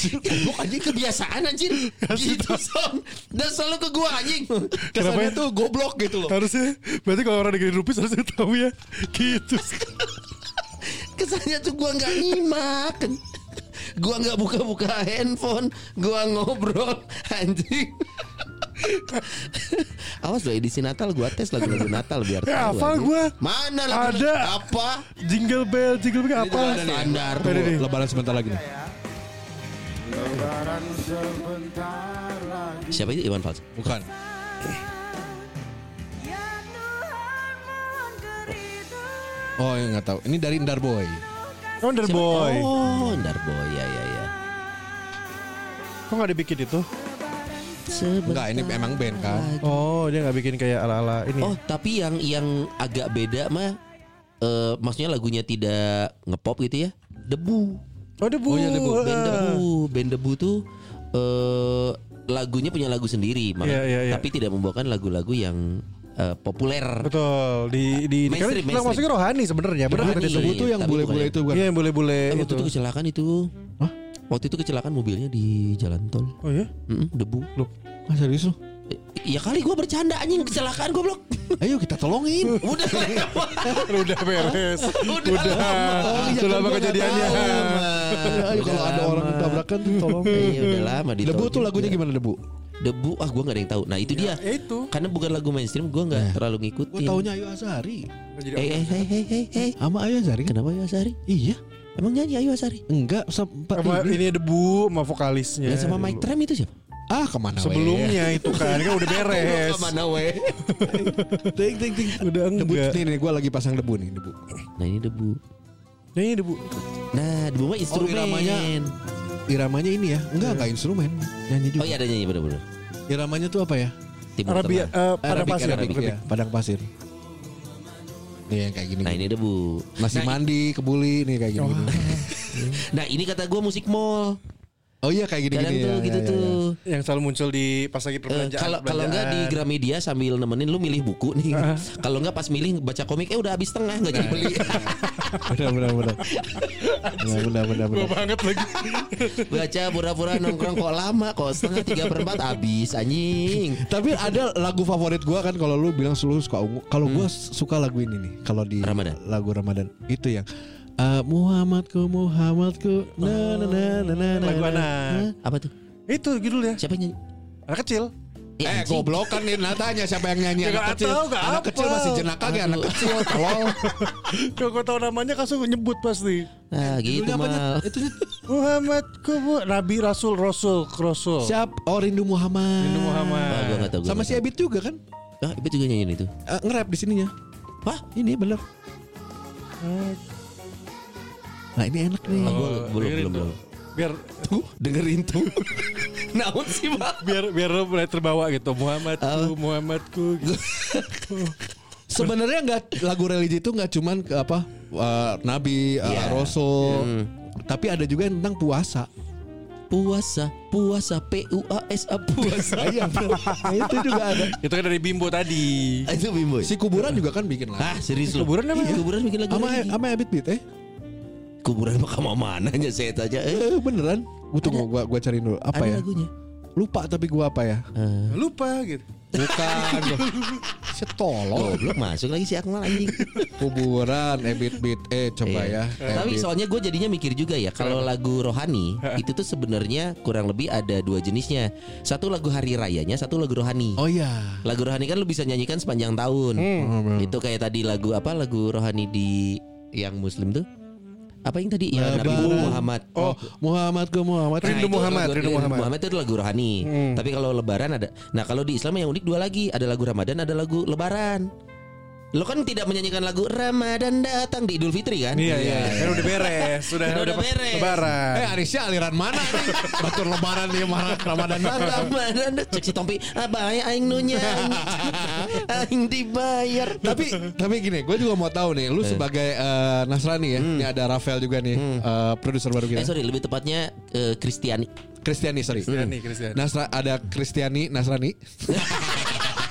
S3: Goblok anjing kebiasaan anjir. Gitu son. Dan selalu ke gua anjing.
S2: kesannya
S5: ya?
S2: tuh goblok gitu loh
S5: harusnya berarti kalau orang negeri rupis harusnya tahu ya. Gitu.
S3: Kesannya tuh gua gak nyimak. Gua nggak buka-buka handphone, gua ngobrol anjing. Awas loh edisi Natal gua tes lagu-lagu Natal biar
S5: Ya,
S3: tahu.
S5: hafal
S3: anjing.
S5: gua.
S3: Mana lagu
S5: Ada.
S3: apa? kan
S5: Jingle bell, jingle bell apa?
S3: Standar.
S5: Ada nih.
S2: lebaran sebentar lagi nih.
S3: Siapa itu Iwan Fals?
S2: bukan oh ya nggak tahu ini dari Indar Boy
S5: Wonder
S3: Siapa?
S5: Boy.
S3: Oh, Ndar Boy. Ya, ya, ya.
S5: Kok gak dibikin itu?
S2: enggak ini emang band kan
S5: Oh, dia gak bikin kayak ala-ala ini. ya?
S3: Oh, tapi yang yang agak beda mah eh maksudnya lagunya tidak ngepop gitu ya. Debu.
S5: Oh, debu.
S3: Oh ya debu. Band
S5: Ah.
S3: debu. Band debu tuh eh lagunya punya lagu sendiri, Mak.
S5: Iya, iya, iya.
S3: tapi tidak membawakan lagu-lagu yang eh, populer.
S5: Betul. Di di di-
S3: Mainstream,
S5: karena bilang
S3: mainstream.
S5: maksudnya rohani sebenarnya. Benar
S3: Rohani.
S5: kata dia
S2: Debu
S5: sebut.
S2: tuh yang
S3: Tapi
S2: bule-bule
S3: bukan.
S2: itu bukan
S5: Iya, yang boleh-boleh
S3: Eh, waktu
S5: itu.
S3: itu kecelakaan itu.
S2: Hah?
S3: Waktu itu kecelakaan mobilnya di jalan tol.
S5: Oh ya?
S3: Mm-mm, debu.
S2: ah, serius lu
S3: Eh, Ya kali gua bercanda anjing kecelakaan goblok.
S2: [LAUGHS] ayo kita [LAUGHS] tolongin
S3: Udah lewat.
S5: Udah beres.
S3: Udah.
S5: Udah.
S2: iya,
S5: Sudah
S2: kan
S5: lama
S2: gua nggak
S5: kejadiannya.
S2: Ya, ayo kalau ada orang yang tabrakan tolong
S3: Iya udah lama di
S2: Hmm, Debu
S3: tol
S2: tuh
S3: juga.
S2: lagunya gimana Debu?
S3: Debu ah gua nggak ada yang tahu. Nah itu dia.
S5: Ya, itu.
S3: Karena bukan lagu mainstream gua nggak terlalu ngikutin.
S2: Gue Nah. taunya Ayu Azari
S3: Eh eh hey hey hey hey.
S2: Sama Ayu Azari kan?
S3: Kenapa Ayu Asari?
S2: Iya
S3: Emang nyanyi Ayu Asari?
S2: Enggak Ya, sempat
S5: Sama ini debu sama vokalisnya.
S3: Yang sama
S5: dulu.
S3: Mike Tram itu siapa?
S2: Ah kemana we?
S5: Sebelumnya itu kan kan udah beres.
S3: weh?
S2: [LAUGHS] Ting ting ting
S5: Udah
S2: Debu
S5: enggak.
S2: nih nih gue lagi pasang debu nih debu.
S3: Nah ini debu.
S5: Ini debu.
S3: Nah debu mah
S2: Oh,
S3: instrumen.
S2: iramanya- Iramanya ini ya. Enggak enggak instrumen. Nyanyi juga.
S3: Oh iya ada nyanyi bener-bener.
S2: Iramanya tuh apa ya?
S3: Timur
S5: Arabia
S3: Tengah.
S5: eh, pada
S2: Arabik,
S5: pasir.
S2: Arabik,
S5: Arabik.
S2: ya, Padang pasir. Nih yang kayak gini.
S3: Nah ini debu.
S2: Masih
S3: nah,
S2: mandi kebuli nih kayak gini.
S3: nah ini kata gua musik mall.
S2: Oh iya kayak gini
S3: Kadang
S2: gini.
S3: tuh
S2: ya,
S3: gitu
S2: ya, ya,
S3: tuh.
S2: ya.
S5: Yang selalu muncul di pas lagi
S3: Eh,
S5: perbelanjaan.
S3: kalau kalau enggak di
S5: perbelanjaan.
S3: Gramedia sambil nemenin lu milih buku nih. kalau enggak pas milih baca komik eh udah habis tengah enggak jadi
S2: [LAUGHS]
S3: beli.
S2: Benar benar benar. Benar benar benar benar.
S5: banget lagi.
S3: baca pura-pura nongkrong kok lama kok setengah tiga perempat habis anjing.
S2: Tapi ada lagu favorit gua kan kalau Hmm. lu bilang selalu suka ungu. Kalau gua suka lagu ini nih. Kalau di
S3: Ramadan.
S2: lagu Ramadan itu yang eh Ah, Muhammadku Muhammadku na na na na na na
S5: Lagu anak.
S3: Apa tuh?
S5: Itu judulnya.
S3: Siapa yang nyanyi?
S5: Anak kecil.
S2: Eh
S3: Eh, anjing.
S2: goblok kan ini tanya siapa yang nyanyi
S5: Ya,
S2: anak
S5: nggak
S2: kecil.
S5: tahu, nggak
S2: Anak
S5: apa.
S2: kecil masih jenaka ya anak [LAUGHS] kecil. Tolol.
S5: Kalau gue tahu namanya kasus gue nyebut pasti.
S3: Nah, gitu
S2: Judulnya apa,
S3: mal.
S2: Nyet? Itu Nyet?
S5: Muhammad Kubu Nabi Rasul Rasul Rasul.
S2: siap Oh Rindu Muhammad.
S5: Rindu Muhammad.
S3: Wah, Oh, gua nggak tahu. gua
S2: Sama
S3: nggak
S2: si
S3: tahu.
S2: Ebit juga kan?
S3: Ah, Ibit juga nyanyiin itu.
S2: Eh, nge-rap di sininya. Wah, ini bener. Nah, ini enak nih.
S3: Ah, gua belum
S5: dengerin
S3: belum
S5: tuh.
S3: belum.
S5: Biar
S3: Tuh, dengerin tuh. Naon sih, Mal?
S5: biar biar lo mulai terbawa gitu. Muhammadku, Muhammadku. Gitu.
S2: Sebenarnya nggak lagu religi itu nggak cuman ke apa eh, nabi, eh,
S3: Iya.
S2: rasul,
S3: Hmm.
S2: tapi ada juga yang tentang puasa.
S3: Puasa, puasa P U A S A puasa.
S2: [LAUGHS]
S3: Ah,
S2: Iya, bener. Nah, itu juga ada.
S5: Itu kan dari Bimbo tadi.
S3: itu bimbo.
S2: Si kuburan juga kan bikin lagu.
S3: Ah, serius lu. Kuburan apa? Kuburan bikin lagu.
S2: Sama
S3: religi.
S2: sama Ebit Bit eh.
S3: kuburan makam mananya saya tanya. Eh,
S2: Eh, beneran. Gua tunggu gua gua cariin dulu apa
S3: ada
S2: ya?
S3: lagunya. Eh.
S2: Lupa tapi gua apa ya?
S5: Lupa gitu.
S2: Bukan. si tolol.
S3: Goblok masuk lagi si Akmal anjing.
S2: Kuburan Ebit Bit eh coba
S3: Iya.
S2: ya.
S3: Tapi
S2: Ebit.
S3: soalnya gue jadinya mikir juga ya kalau lagu rohani itu tuh sebenarnya kurang lebih ada dua jenisnya. Satu lagu hari rayanya, satu lagu rohani.
S2: Oh iya. Hmm. Oh,
S3: Lagu rohani kan lu bisa nyanyikan sepanjang tahun. Itu kayak tadi lagu apa lagu rohani di yang muslim tuh? Apa yang tadi? Ya Nabi
S2: Lebaran.
S3: Muhammad.
S2: Oh, Muhammad ke Muhammad.
S3: Nah,
S5: Rindu
S3: itu
S5: Muhammad,
S3: lagu-
S5: Rindu Muhammad. Hmm.
S3: itu lagu rohani. Tapi kalau lebaran ada. Nah, kalau di Islam yang unik dua lagi, ada lagu Ramadan, ada lagu lebaran. Lo kan tidak menyanyikan lagu Ramadan datang di Idul Fitri kan?
S5: Iya iya. Kan udah
S3: [LAUGHS]
S5: beres. Sudah
S3: Udah- udah
S5: pas
S3: beres. Iya.
S5: Lebaran.
S2: Eh Arisnya aliran mana nih? Batur lebaran dia marah Ramadan datang.
S3: Ramadan cek si Tompi apa ya aing nunya
S5: [LAUGHS]
S3: aing dibayar
S2: tapi tapi gini, gue juga mau tahu nih, lu sebagai eh, Nasrani ya, ini ada Rafael juga nih, eh, produser baru
S3: eh
S2: kita.
S3: sorry lebih tepatnya eh, Kristiani
S2: Kristiani, sorry.
S5: Kristiani, Kristiani.
S2: Nasra ada Kristiani, Nasrani.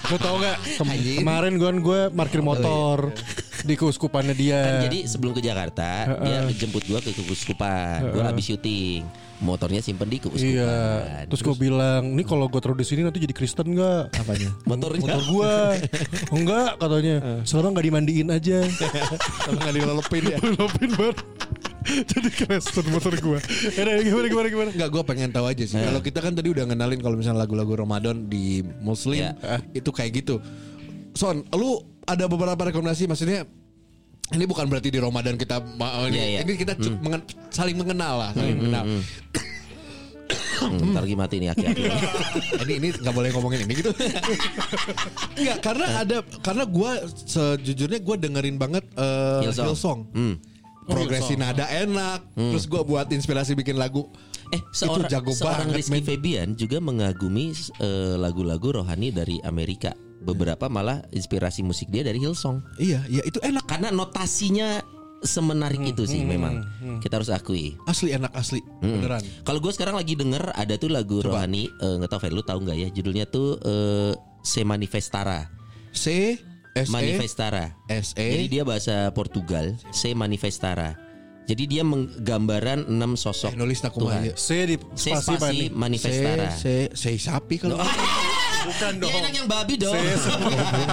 S5: Lo tau gak?
S3: Anjing. Oh, iya.
S5: Kemarin gue gue parkir motor di keuskupannya dia.
S3: kan jadi sebelum ke Jakarta dia jemput gua ke Keuskupan gua habis syuting motornya simpen di Keuskupan
S5: Iya. Terus gue bilang, ini kalau gue taruh di sini nanti jadi Kristen gak? Apanya?
S3: motornya Eh.
S5: Motor
S3: [LAUGHS]
S5: gue. Enggak katanya. Selama nggak dimandiin
S3: [LAUGHS]
S5: aja.
S2: Enggak dilelepin
S5: [LAUGHS]
S2: ya.
S5: Lopin banget. jadi Kristen motor gue. Yaudah, gimana gimana gimana?
S2: Enggak, gue pengen tahu aja sih. Kalau kita kan tadi udah ngenalin kalau misalnya lagu-lagu Ramadan di Muslim itu kayak gitu. Son, lu ada beberapa rekomendasi maksudnya ini bukan berarti di Ramadan kita ma- ini,
S3: Iya, iya.
S2: ini kita cu- mengen- saling mengenal lah, saling mengenal.
S3: hmm, ntar lagi mati nih aki-aki
S5: [LAUGHS]
S2: ini ini nggak boleh ngomongin ini gitu. Enggak, karena
S3: Eh.
S2: ada karena gue sejujurnya gue dengerin banget eh,
S3: Hillsong. Hmm.
S2: Hillsong. Progresi nada enak, terus gue buat inspirasi bikin lagu.
S3: Eh, seorang,
S2: itu jago
S3: seorang
S2: banget,
S3: Rizky
S2: men.
S3: Febian juga mengagumi eh, lagu-lagu rohani dari Amerika. Beberapa malah inspirasi musik dia dari Hillsong.
S2: Iya, iya itu enak
S3: Karena notasinya semenarik
S2: Hmm,
S3: itu sih memang. Kita harus akui.
S2: asli enak asli
S3: Hmm.
S2: beneran.
S3: Kalau gue sekarang lagi denger ada tuh lagu rohani eh, nggak tahu Fer lu tahu nggak ya judulnya tuh eh, Se Manifestara.
S2: C S E
S3: Manifestara.
S2: S E
S3: Jadi dia bahasa Portugal, Se Manifestara. Jadi dia menggambaran enam
S2: Eh,
S3: sosok
S2: nulis tak
S3: Tuhan.
S2: aja.
S5: C di
S3: Se
S5: spasi apa
S3: Spasi
S5: nih?
S2: C
S3: Manifestara.
S2: C C sapi kalau
S5: Bukan
S3: Ya enak yang babi dong.
S2: [LAUGHS]
S3: [LAUGHS]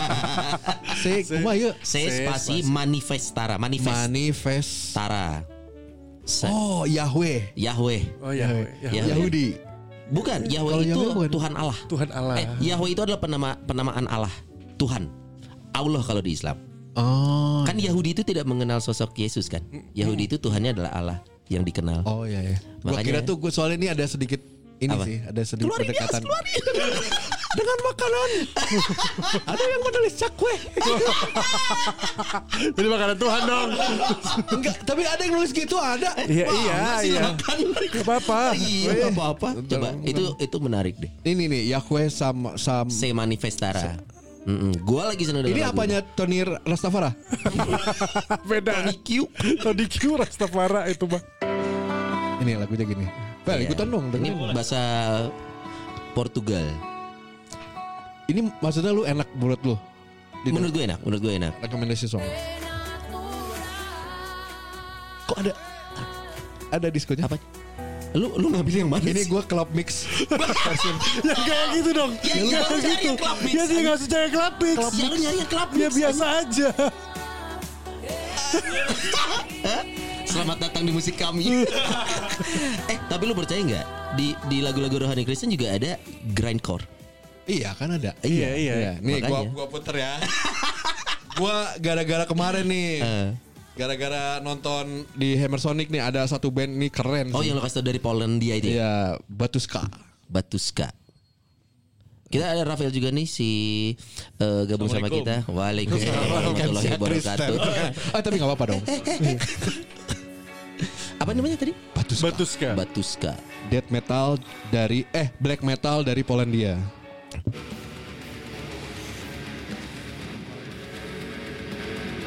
S2: C kumaha ya?
S3: Se spasi manifestara, manifestara.
S2: Manifest. Oh Yahweh.
S3: Yahweh.
S5: Oh iya.
S2: Eh,
S5: iya.
S3: Yahweh.
S2: Yahudi.
S3: Bukan, Yahweh
S2: Kalau
S3: itu
S2: Yahweh bukan. ah.
S3: Tuhan Allah.
S5: Tuhan Allah.
S3: Eh,
S2: iya.
S3: Yahweh itu adalah penama, penamaan Allah, Tuhan. Allah kalau di Islam.
S2: Oh.
S3: Kan Yahudi itu tidak mengenal sosok Yesus kan? Yahudi itu Tuhannya adalah Allah yang dikenal.
S2: Oh iya ya. Gua
S3: Makanya-
S2: kira tuh gua soalnya ini ada sedikit ini
S3: Apa?
S2: sih, ada sedikit
S3: Keluarin gas,
S2: pendekatan.
S3: keluarin.
S2: [LAUGHS] Dengan
S3: [LAUGHS]
S2: makanan. ada yang menulis cakwe.
S5: Jadi makanan Tuhan dong.
S2: Enggak, tapi ada yang nulis gitu ada.
S5: Iya iya iya. Gak apa-apa.
S3: Ah, [LAUGHS] Iya, nggak apa-apa. Coba itu itu menarik deh.
S2: Ini nih Yahweh sama sam
S3: Se manifestara. Mm-mm. Gua lagi seneng
S2: ini
S3: dengan lagu
S2: apanya Tony Rastafara?
S5: Beda.
S3: Tony Q.
S5: Tadi Q Rastafara itu
S3: [LAUGHS]
S5: mah.
S2: Ini lagunya gini. Bel,
S3: Iya.
S2: ikutan dong.
S3: Ini
S2: dengerin.
S3: bahasa Portugal.
S2: Ini maksudnya lu enak menurut lu? Di
S3: Menurut gue enak, menurut gue enak.
S2: rekomendasi song. Kok ada ada diskonya?
S3: Apa? Lu lu ngambil yang mana?
S2: Ini
S3: sih?
S2: gua club mix.
S5: Ya kayak gitu dong.
S3: Ya,
S5: Ya,
S3: iya,
S5: kayak
S3: cari
S5: gitu.
S3: yang club mix.
S5: Ya dia nggak usah cari club Iya, mix.
S3: Ya lu nyari yang club
S5: Ya
S3: mix.
S5: biasa aja.
S3: Selamat datang di musik
S2: [LAUGHS]
S3: kami. eh, tapi lu percaya nggak di di lagu-lagu rohani Kristen juga ada grindcore.
S2: [LAUGHS] Iya kan ada.
S3: Iya, iya.
S2: Nih gua
S3: Makanya.
S2: gua puter ya. [LAUGHS] gua gara-gara kemarin nih.
S3: Eh.
S2: Gara-gara nonton di Hammer Sonic nih ada satu band nih keren.
S3: Oh,
S2: sih.
S3: yang lo kasih tau dari Polandia itu. ya?
S2: Iya, Batuska.
S3: Batuska. Kita ada Rafael juga nih si eh, gabung sama kita. Waalaikumsalam warahmatullahi wabarakatuh.
S2: Ah tapi nggak apa-apa dong.
S3: Apa namanya tadi?
S2: Batuska.
S6: Ya.
S8: Batuska.
S3: Batuska.
S2: Death metal dari eh black metal dari Polandia.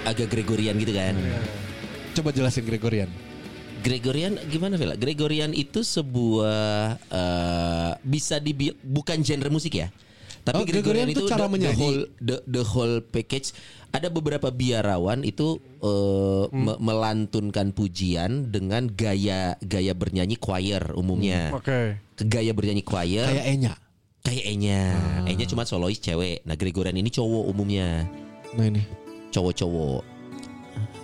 S3: Agak Gregorian gitu kan.
S2: Coba jelasin Gregorian.
S3: Gregorian gimana Vela? Gregorian itu sebuah eh, bisa dibil bukan genre musik ya. Tapi
S2: Oh, Gregorian itu cara
S3: the,
S2: menyanyi.
S3: the whole the, the whole package. Ada beberapa biarawan itu eh,
S2: Hmm.
S3: me- melantunkan pujian dengan gaya gaya bernyanyi choir umumnya.
S8: Oke.
S3: Ke Gaya bernyanyi choir
S2: Hmm, Kayak Ah. Enya.
S3: kayak Enya. Enya cuma solois cewek. Nah, Gregorian ini cowok umumnya.
S2: Nah ini.
S3: Cowok-cowok.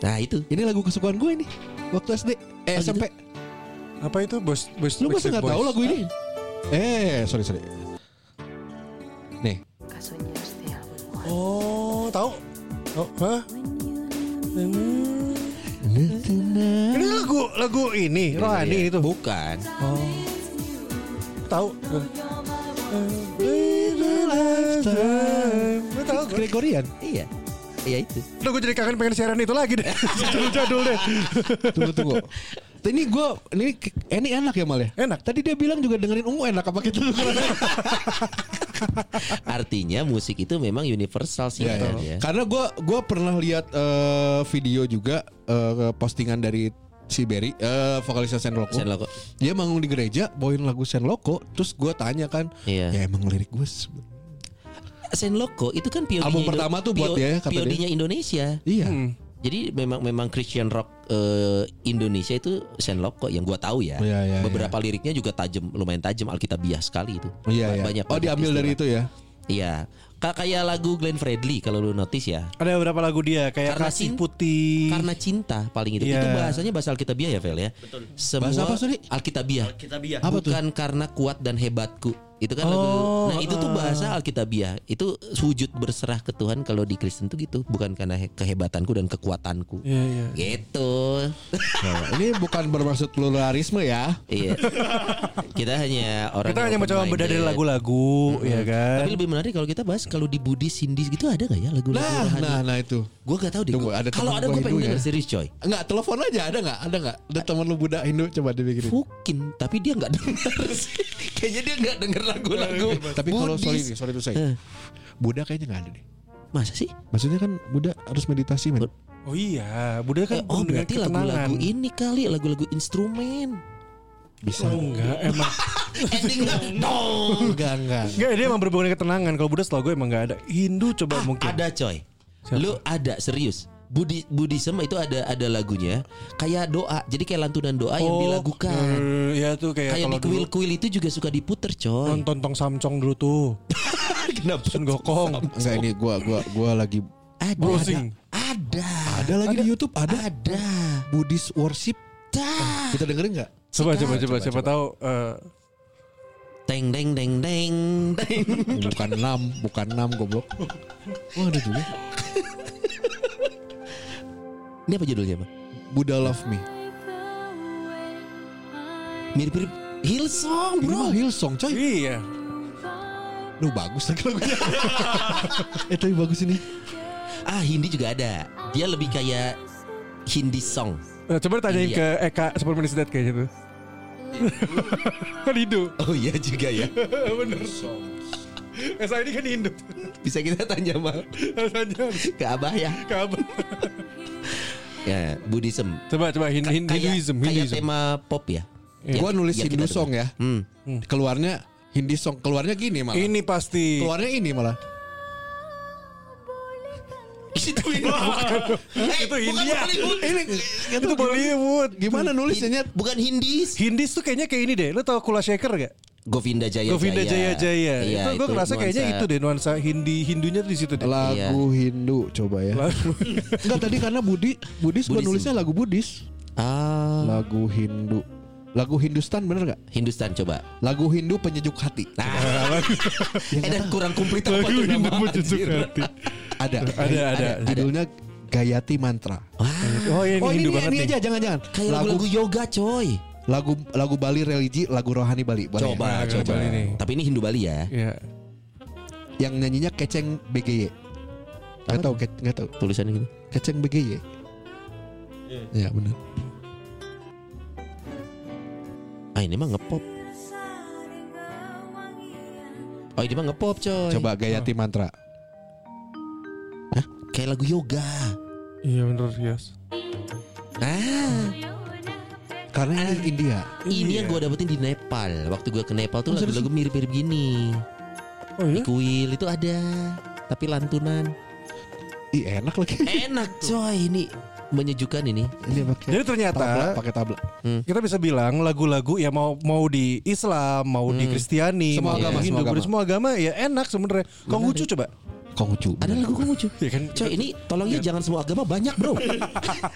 S3: Nah, itu.
S2: Ini lagu kesukaan gue nih. Waktu SD, eh,
S3: Oh, gitu?
S2: SMP.
S5: Apa itu bos bos
S2: Lu masa nggak tahu lagu ini? Eh, sorry sorry. Nih,
S5: Oh, tahu. Oh, hah? Ini lagu lagu ini
S2: Iya,
S5: rohani itu.
S3: Iya. Bukan.
S5: Tahu. Lu tahu gak?
S2: Gregorian.
S3: Iya. Iya itu.
S5: Aduh gue jadi kangen pengen siaran itu lagi deh Jadul-jadul deh
S2: [LAUGHS] Tunggu tunggu. Ini gue ini ini enak ya Mal ya?
S5: Enak.
S2: Tadi dia bilang juga dengerin ungu enak apa gitu.
S3: Artinya musik itu memang universal sih
S2: Iya,
S3: kan
S2: iya.
S3: ya.
S2: Karena gue gua pernah lihat eh, video juga eh, postingan dari si Berry, eh, vokalisnya Sen Loko.
S3: Sen Loko.
S2: Dia manggung di gereja, bawain lagu Sen Loko. Terus gue tanya kan,
S3: Iya.
S2: ya emang lirik gue.
S3: Sen Loko itu kan POD
S2: Album pertama tuh buat dia ya, kata dia.
S3: POD-nya Indonesia.
S2: Iya.
S3: Jadi memang memang Christian rock eh, Indonesia itu Sen Loko yang gua tahu ya.
S2: Iya, iya,
S3: Beberapa liriknya juga tajam, lumayan tajam alkitabiah sekali itu.
S2: Iya,
S3: Ba-
S2: iya.
S3: Banyak.
S2: oh diambil dari itu ya?
S3: Iya. Ka- Kayak lagu Glenn Fredly kalau lu notice ya.
S5: Ada beberapa lagu dia Kayak
S3: Karena
S5: Kasih
S3: cin-
S5: Putih
S3: Karena cinta paling itu.
S5: Iya.
S3: Itu bahasanya bahasa alkitabiah ya, Vel ya. Betul. Semua
S2: Bahasa apa, sorry?
S3: Alkitabiah.
S1: Kita biar.
S2: Apa tuh? Oh,
S3: Bukan karena kuat dan hebatku. Itu kan lagu. Nah, itu
S2: ah.
S3: tuh bahasa Alkitabiah. Itu wujud berserah ke Tuhan kalau di Kristen tuh gitu, bukan karena he- kehebatanku dan kekuatanku.
S2: Iya,
S3: Gitu. [LAUGHS]
S2: Nah, [LAUGHS] ini bukan bermaksud pluralisme ya.
S3: Iya. Kita hanya orang
S5: Kita
S3: yang
S5: hanya mencoba
S3: open-minded.
S5: beda dari lagu-lagu Ya kan
S3: Tapi lebih menarik kalau kita bahas kalau di Buddhis, Hindis gitu ada gak ya lagu-lagu
S2: Nah,
S3: rohani?
S2: nah, nah itu.
S3: Gue gak tahu deh.
S2: Tunggu,
S3: Gua-
S2: ada temen
S3: kalau ada
S2: gua
S3: gue pengen
S2: Hindu ya.
S3: denger serius coy.
S2: Enggak, telepon aja ada nggak? Ada nggak? Ada teman lu Buddha Hindu coba dibikin.
S3: Mungkin, tapi dia nggak denger [LAUGHS] sih. Kayaknya dia nggak denger lagu-lagu.
S5: Iya,
S2: Tapi kalau
S3: Buddhis.
S2: sorry, sorry itu
S3: Eh.
S2: saya. Buddha kayaknya nggak ada deh.
S3: Masa sih?
S2: Maksudnya kan Buddha harus meditasi men.
S5: Oh iya Buddha kan
S3: Eh, oh
S5: dengan
S3: berarti
S5: ketenangan.
S3: lagu-lagu ini kali lagu-lagu instrumen.
S2: Bisa.
S5: Oh, Enggak emang
S3: [LAUGHS] Endingnya dong.
S2: Enggak, enggak.
S5: Enggak dia emang berhubungan dengan ketenangan Kalau Buddha setahu gue emang gak ada Hindu coba mungkin
S3: Ah, Ada coy.
S5: Siapa?
S3: Lu ada serius. Budi Buddhism itu ada ada lagunya kayak doa. Jadi kayak lantunan doa yang
S5: Oh,
S3: dilakukan.
S5: eh, Ya tuh kayak,
S3: kayak di
S5: kalau dulu
S3: kuil-kuil itu juga suka diputer coy.
S5: Nonton Tong Samcong dulu tuh
S3: [LAUGHS] Kenapa?
S5: Sun Gokong
S2: Enggak ini gua gua gua lagi
S3: Ada.
S5: Browsing.
S3: Ada.
S2: Eh, ada lagi di YouTube ada
S3: Ada.
S2: Buddhist worship. Eh,
S3: Dah.
S2: Kita dengerin nggak?
S5: Coba coba coba Siapa tahu eh,
S3: Deng deng deng deng deng.
S2: bukan 6, bukan 6 goblok. Wah, ada juga.
S3: Ini apa judulnya, Bang?
S2: Buddha Love Me.
S3: Mirip-mirip Hillsong,
S2: Ini mah
S3: Bro.
S2: Hillsong, coy.
S5: Iya
S2: Lu bagus lagi
S3: [LAUGHS]
S2: lagunya. eh, tapi bagus ini.
S3: Ah, Hindi juga ada. Dia lebih kayak Hindi song.
S5: Nah, coba tanyain
S3: Iya.
S5: ke Eka Superman is Dead kayaknya tuh. [LAUGHS] kan Hindu.
S3: Oh iya juga ya.
S5: [LAUGHS] Bener. Esa ini kan Hindu.
S3: Bisa kita tanya mal
S5: Tanya
S3: ke Abah ya.
S5: kabar.
S3: [LAUGHS] Ya, Buddhism.
S5: Coba coba Hindu
S3: Kayak-
S5: Hinduism,
S3: kayak
S5: Hinduism. Iya.
S3: tema pop ya. Ya,
S2: Gua nulis
S3: ya kita
S2: Hindu
S3: dengar.
S2: song ya.
S3: Hmm.
S2: Keluarnya Hindi song. Keluarnya gini malah.
S5: Ini pasti.
S2: Keluarnya ini malah.
S3: Itu [LAUGHS] Hindu. Eh,
S5: Itu
S3: bukan
S5: India.
S3: Bollywood.
S2: Ini
S5: Itu Bollywood.
S2: gimana nulisnya?
S3: Hin- Bukan Hindis.
S5: Hindis tuh kayaknya kayak ini deh. Lo tau Kula Shaker gak?
S3: Govinda Jaya
S5: Govinda Jaya Jaya.
S3: Iya,
S5: itu gue ngerasa kayaknya
S3: nuansa-
S5: itu deh nuansa Hindi Hindunya tuh di
S3: Iya.
S5: situ deh.
S2: Lagu Hindu coba ya. Enggak tadi karena Budi Budis gua
S3: Buddhism.
S2: nulisnya lagu Budis.
S3: Ah,
S2: Lagu Hindu. Lagu Hindustan bener nggak?
S3: Hindustan coba.
S2: Lagu Hindu penyejuk hati.
S3: Nah,
S2: Iya.
S3: eh, dan
S5: [LAUGHS]
S3: kurang komplit apa tuh nama anjir.
S2: Ada.
S8: Ada, ada.
S2: Judulnya Gayati Mantra.
S8: Oh ini
S2: oh ini
S8: Hindu
S2: ini,
S8: banget
S2: ini
S8: nih.
S2: aja jangan-jangan.
S3: Kayak
S2: Lagu
S3: lagu-lagu yoga coy.
S2: lagu lagu Bali religi, lagu rohani Bali. Boleh? ya?
S3: Coba,
S8: Nah,
S3: coba.
S8: Bali nih.
S3: Tapi ini Hindu Bali ya.
S8: Iya.
S2: Yang nyanyinya Keceng BGY. Gak tau, ke- gak tau.
S3: Tulisannya gitu.
S2: Keceng BGY. Ya bener.
S3: Ah ini mah ngepop. Oh ini mah ngepop coy.
S2: Coba Gayati Mantra.
S3: Kayak lagu yoga.
S8: Iya bener yes.
S3: Ah,
S2: Karena ini India.
S3: ini yang gue dapetin di Nepal. Waktu gue ke Nepal tuh lagu-lagu mirip-mirip gini.
S8: Oh iya.
S3: Kuil itu ada, tapi lantunan.
S2: Ih enak lagi.
S3: Enak coy ini menyejukkan ini.
S2: Ini pakai
S5: Jadi
S2: tabla,
S5: ternyata
S2: pakai tabla.
S5: kita bisa bilang lagu-lagu ya mau mau di Islam, mau di Kristiani, mau
S2: Semua
S5: di
S2: agama,
S5: Hindu,
S2: semua agama.
S5: Buddha, semua agama ya enak sebenarnya. Konghucu coba.
S2: Konghucu.
S3: Ada lagu Konghucu.
S5: Ya kan?
S3: Coy ini tolong ya jangan semua agama banyak bro.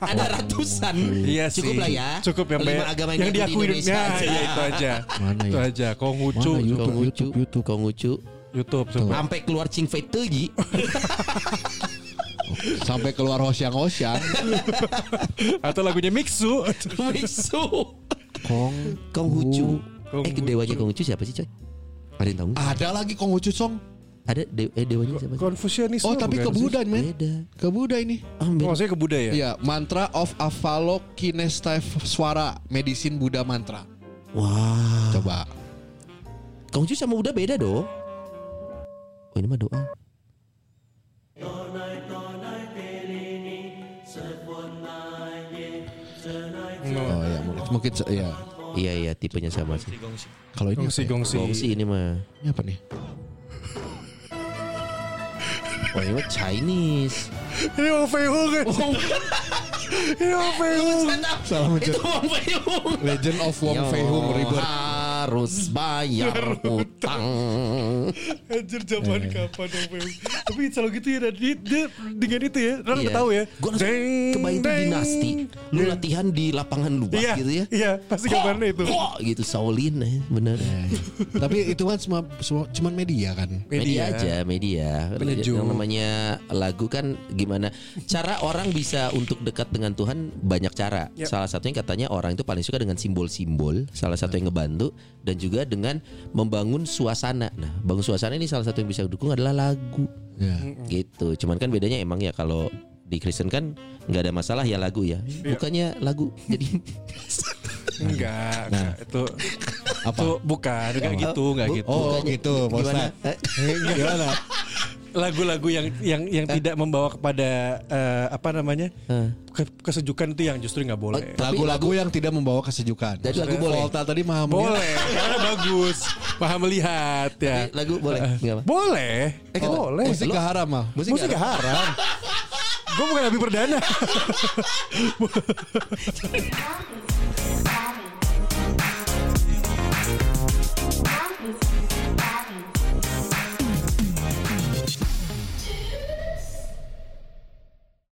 S3: ada ratusan.
S8: Iya sih.
S3: Cukup lah ya.
S8: Cukup yang
S3: lima
S8: be-
S3: agama yang,
S8: yang
S3: diakui
S8: diakui
S3: di
S8: dunia.
S3: Indonesia. aja.
S8: Iya itu aja.
S2: Mana
S8: itu
S2: ya?
S8: aja. Konghucu,
S2: Mana YouTube,
S3: Konghucu,
S2: YouTube, YouTube.
S3: Konghucu.
S8: YouTube semua.
S3: Sampai keluar Ching Fei [LAUGHS] Teji.
S2: Sampai keluar hosyang-hosyang.
S8: Atau lagunya Mixu.
S3: Mixu.
S2: Kong
S3: Konghucu.
S8: Konghucu.
S3: Eh dewanya Konghucu siapa sih coy? Ada yang tahu? nggak?
S2: Ada lagi Konghucu song.
S3: Ada de- eh, dewanya siapa? sih?
S5: Konfusianisme.
S2: Oh tapi ke
S5: bukan sih?
S2: Buddha men.
S3: Beda.
S2: Ke Buddha ini.
S3: Ah, beda.
S5: Maksudnya ke Buddha ya?
S2: Iya, mantra of Avalokitesvara, medisin Buddha mantra.
S3: Wah.
S2: Coba.
S3: Konghucu sama Buddha beda dong. Oh ini mah doa.
S2: Oh ya, mungkin, mungkin se- ya.
S3: Iya iya tipenya sama sih.
S2: Kalau ini
S8: Gongsi
S2: apa,
S8: gongsi.
S3: Gongsi ini mah.
S2: ya? Ini apa nih?
S3: Oh ini mah Chinese.
S8: Ini Wong Fei Hung.
S3: Oh.
S8: Ini Wong Fei Hung. [LAUGHS]
S2: Salah mencet.
S3: Wong Fei Hung.
S2: Legend of
S3: Ya
S2: Wong Fei Hung River.
S3: Harus bayar hutang.
S8: Anjir zaman kapan Wong Fei Hung. Tapi selalu gitu ya. Dan dia, dia dengan itu ya. Orang
S3: Iya.
S8: udah tahu ya.
S3: Gua langsung
S8: Deng,
S3: kebayang tuh
S8: deng.
S3: dinasti. Lu latihan di lapangan luas
S8: Iya,
S3: gitu ya.
S8: iya, pasti gambarnya itu.
S3: Wah, gitu Shaolin eh, bener.
S2: [LAUGHS] Tapi itu kan semua, semua cuman media kan.
S3: Media aja, media. Yang namanya lagu kan gimana? Cara orang bisa untuk dekat dengan Tuhan banyak cara. Salah satunya katanya orang itu paling suka dengan simbol-simbol. Salah satu yang ngebantu dan juga dengan membangun suasana. Nah, bangun suasana ini salah satu yang bisa dukung adalah lagu.
S2: Ya.
S3: Gitu. Cuman kan bedanya emang ya kalau di Kristen kan nggak ada masalah ya lagu ya. Bukannya lagu jadi
S8: Enggak,
S3: Nah.
S8: enggak. Itu
S2: Apa?
S8: itu bukan enggak gitu, enggak gitu.
S2: Oh gitu, Pak
S3: gimana?
S2: Ustadz. Eh, Gimana?
S8: Lagu-lagu yang yang yang tidak membawa kepada eh, apa namanya? ke- kesejukan itu yang justru nggak boleh.
S3: Oh,
S2: Lagu-lagu yang tidak membawa kesejukan.
S3: Jadi lagu boleh?
S2: Volta tadi mah
S8: Boleh, karena bagus. Paham melihat ya.
S3: lagu boleh? Nggak apa?
S8: Boleh. boleh.
S2: Musik gak haram mah.
S3: Musik
S8: Musik
S3: nggak ada?
S8: haram. Gue bukan lebih perdana.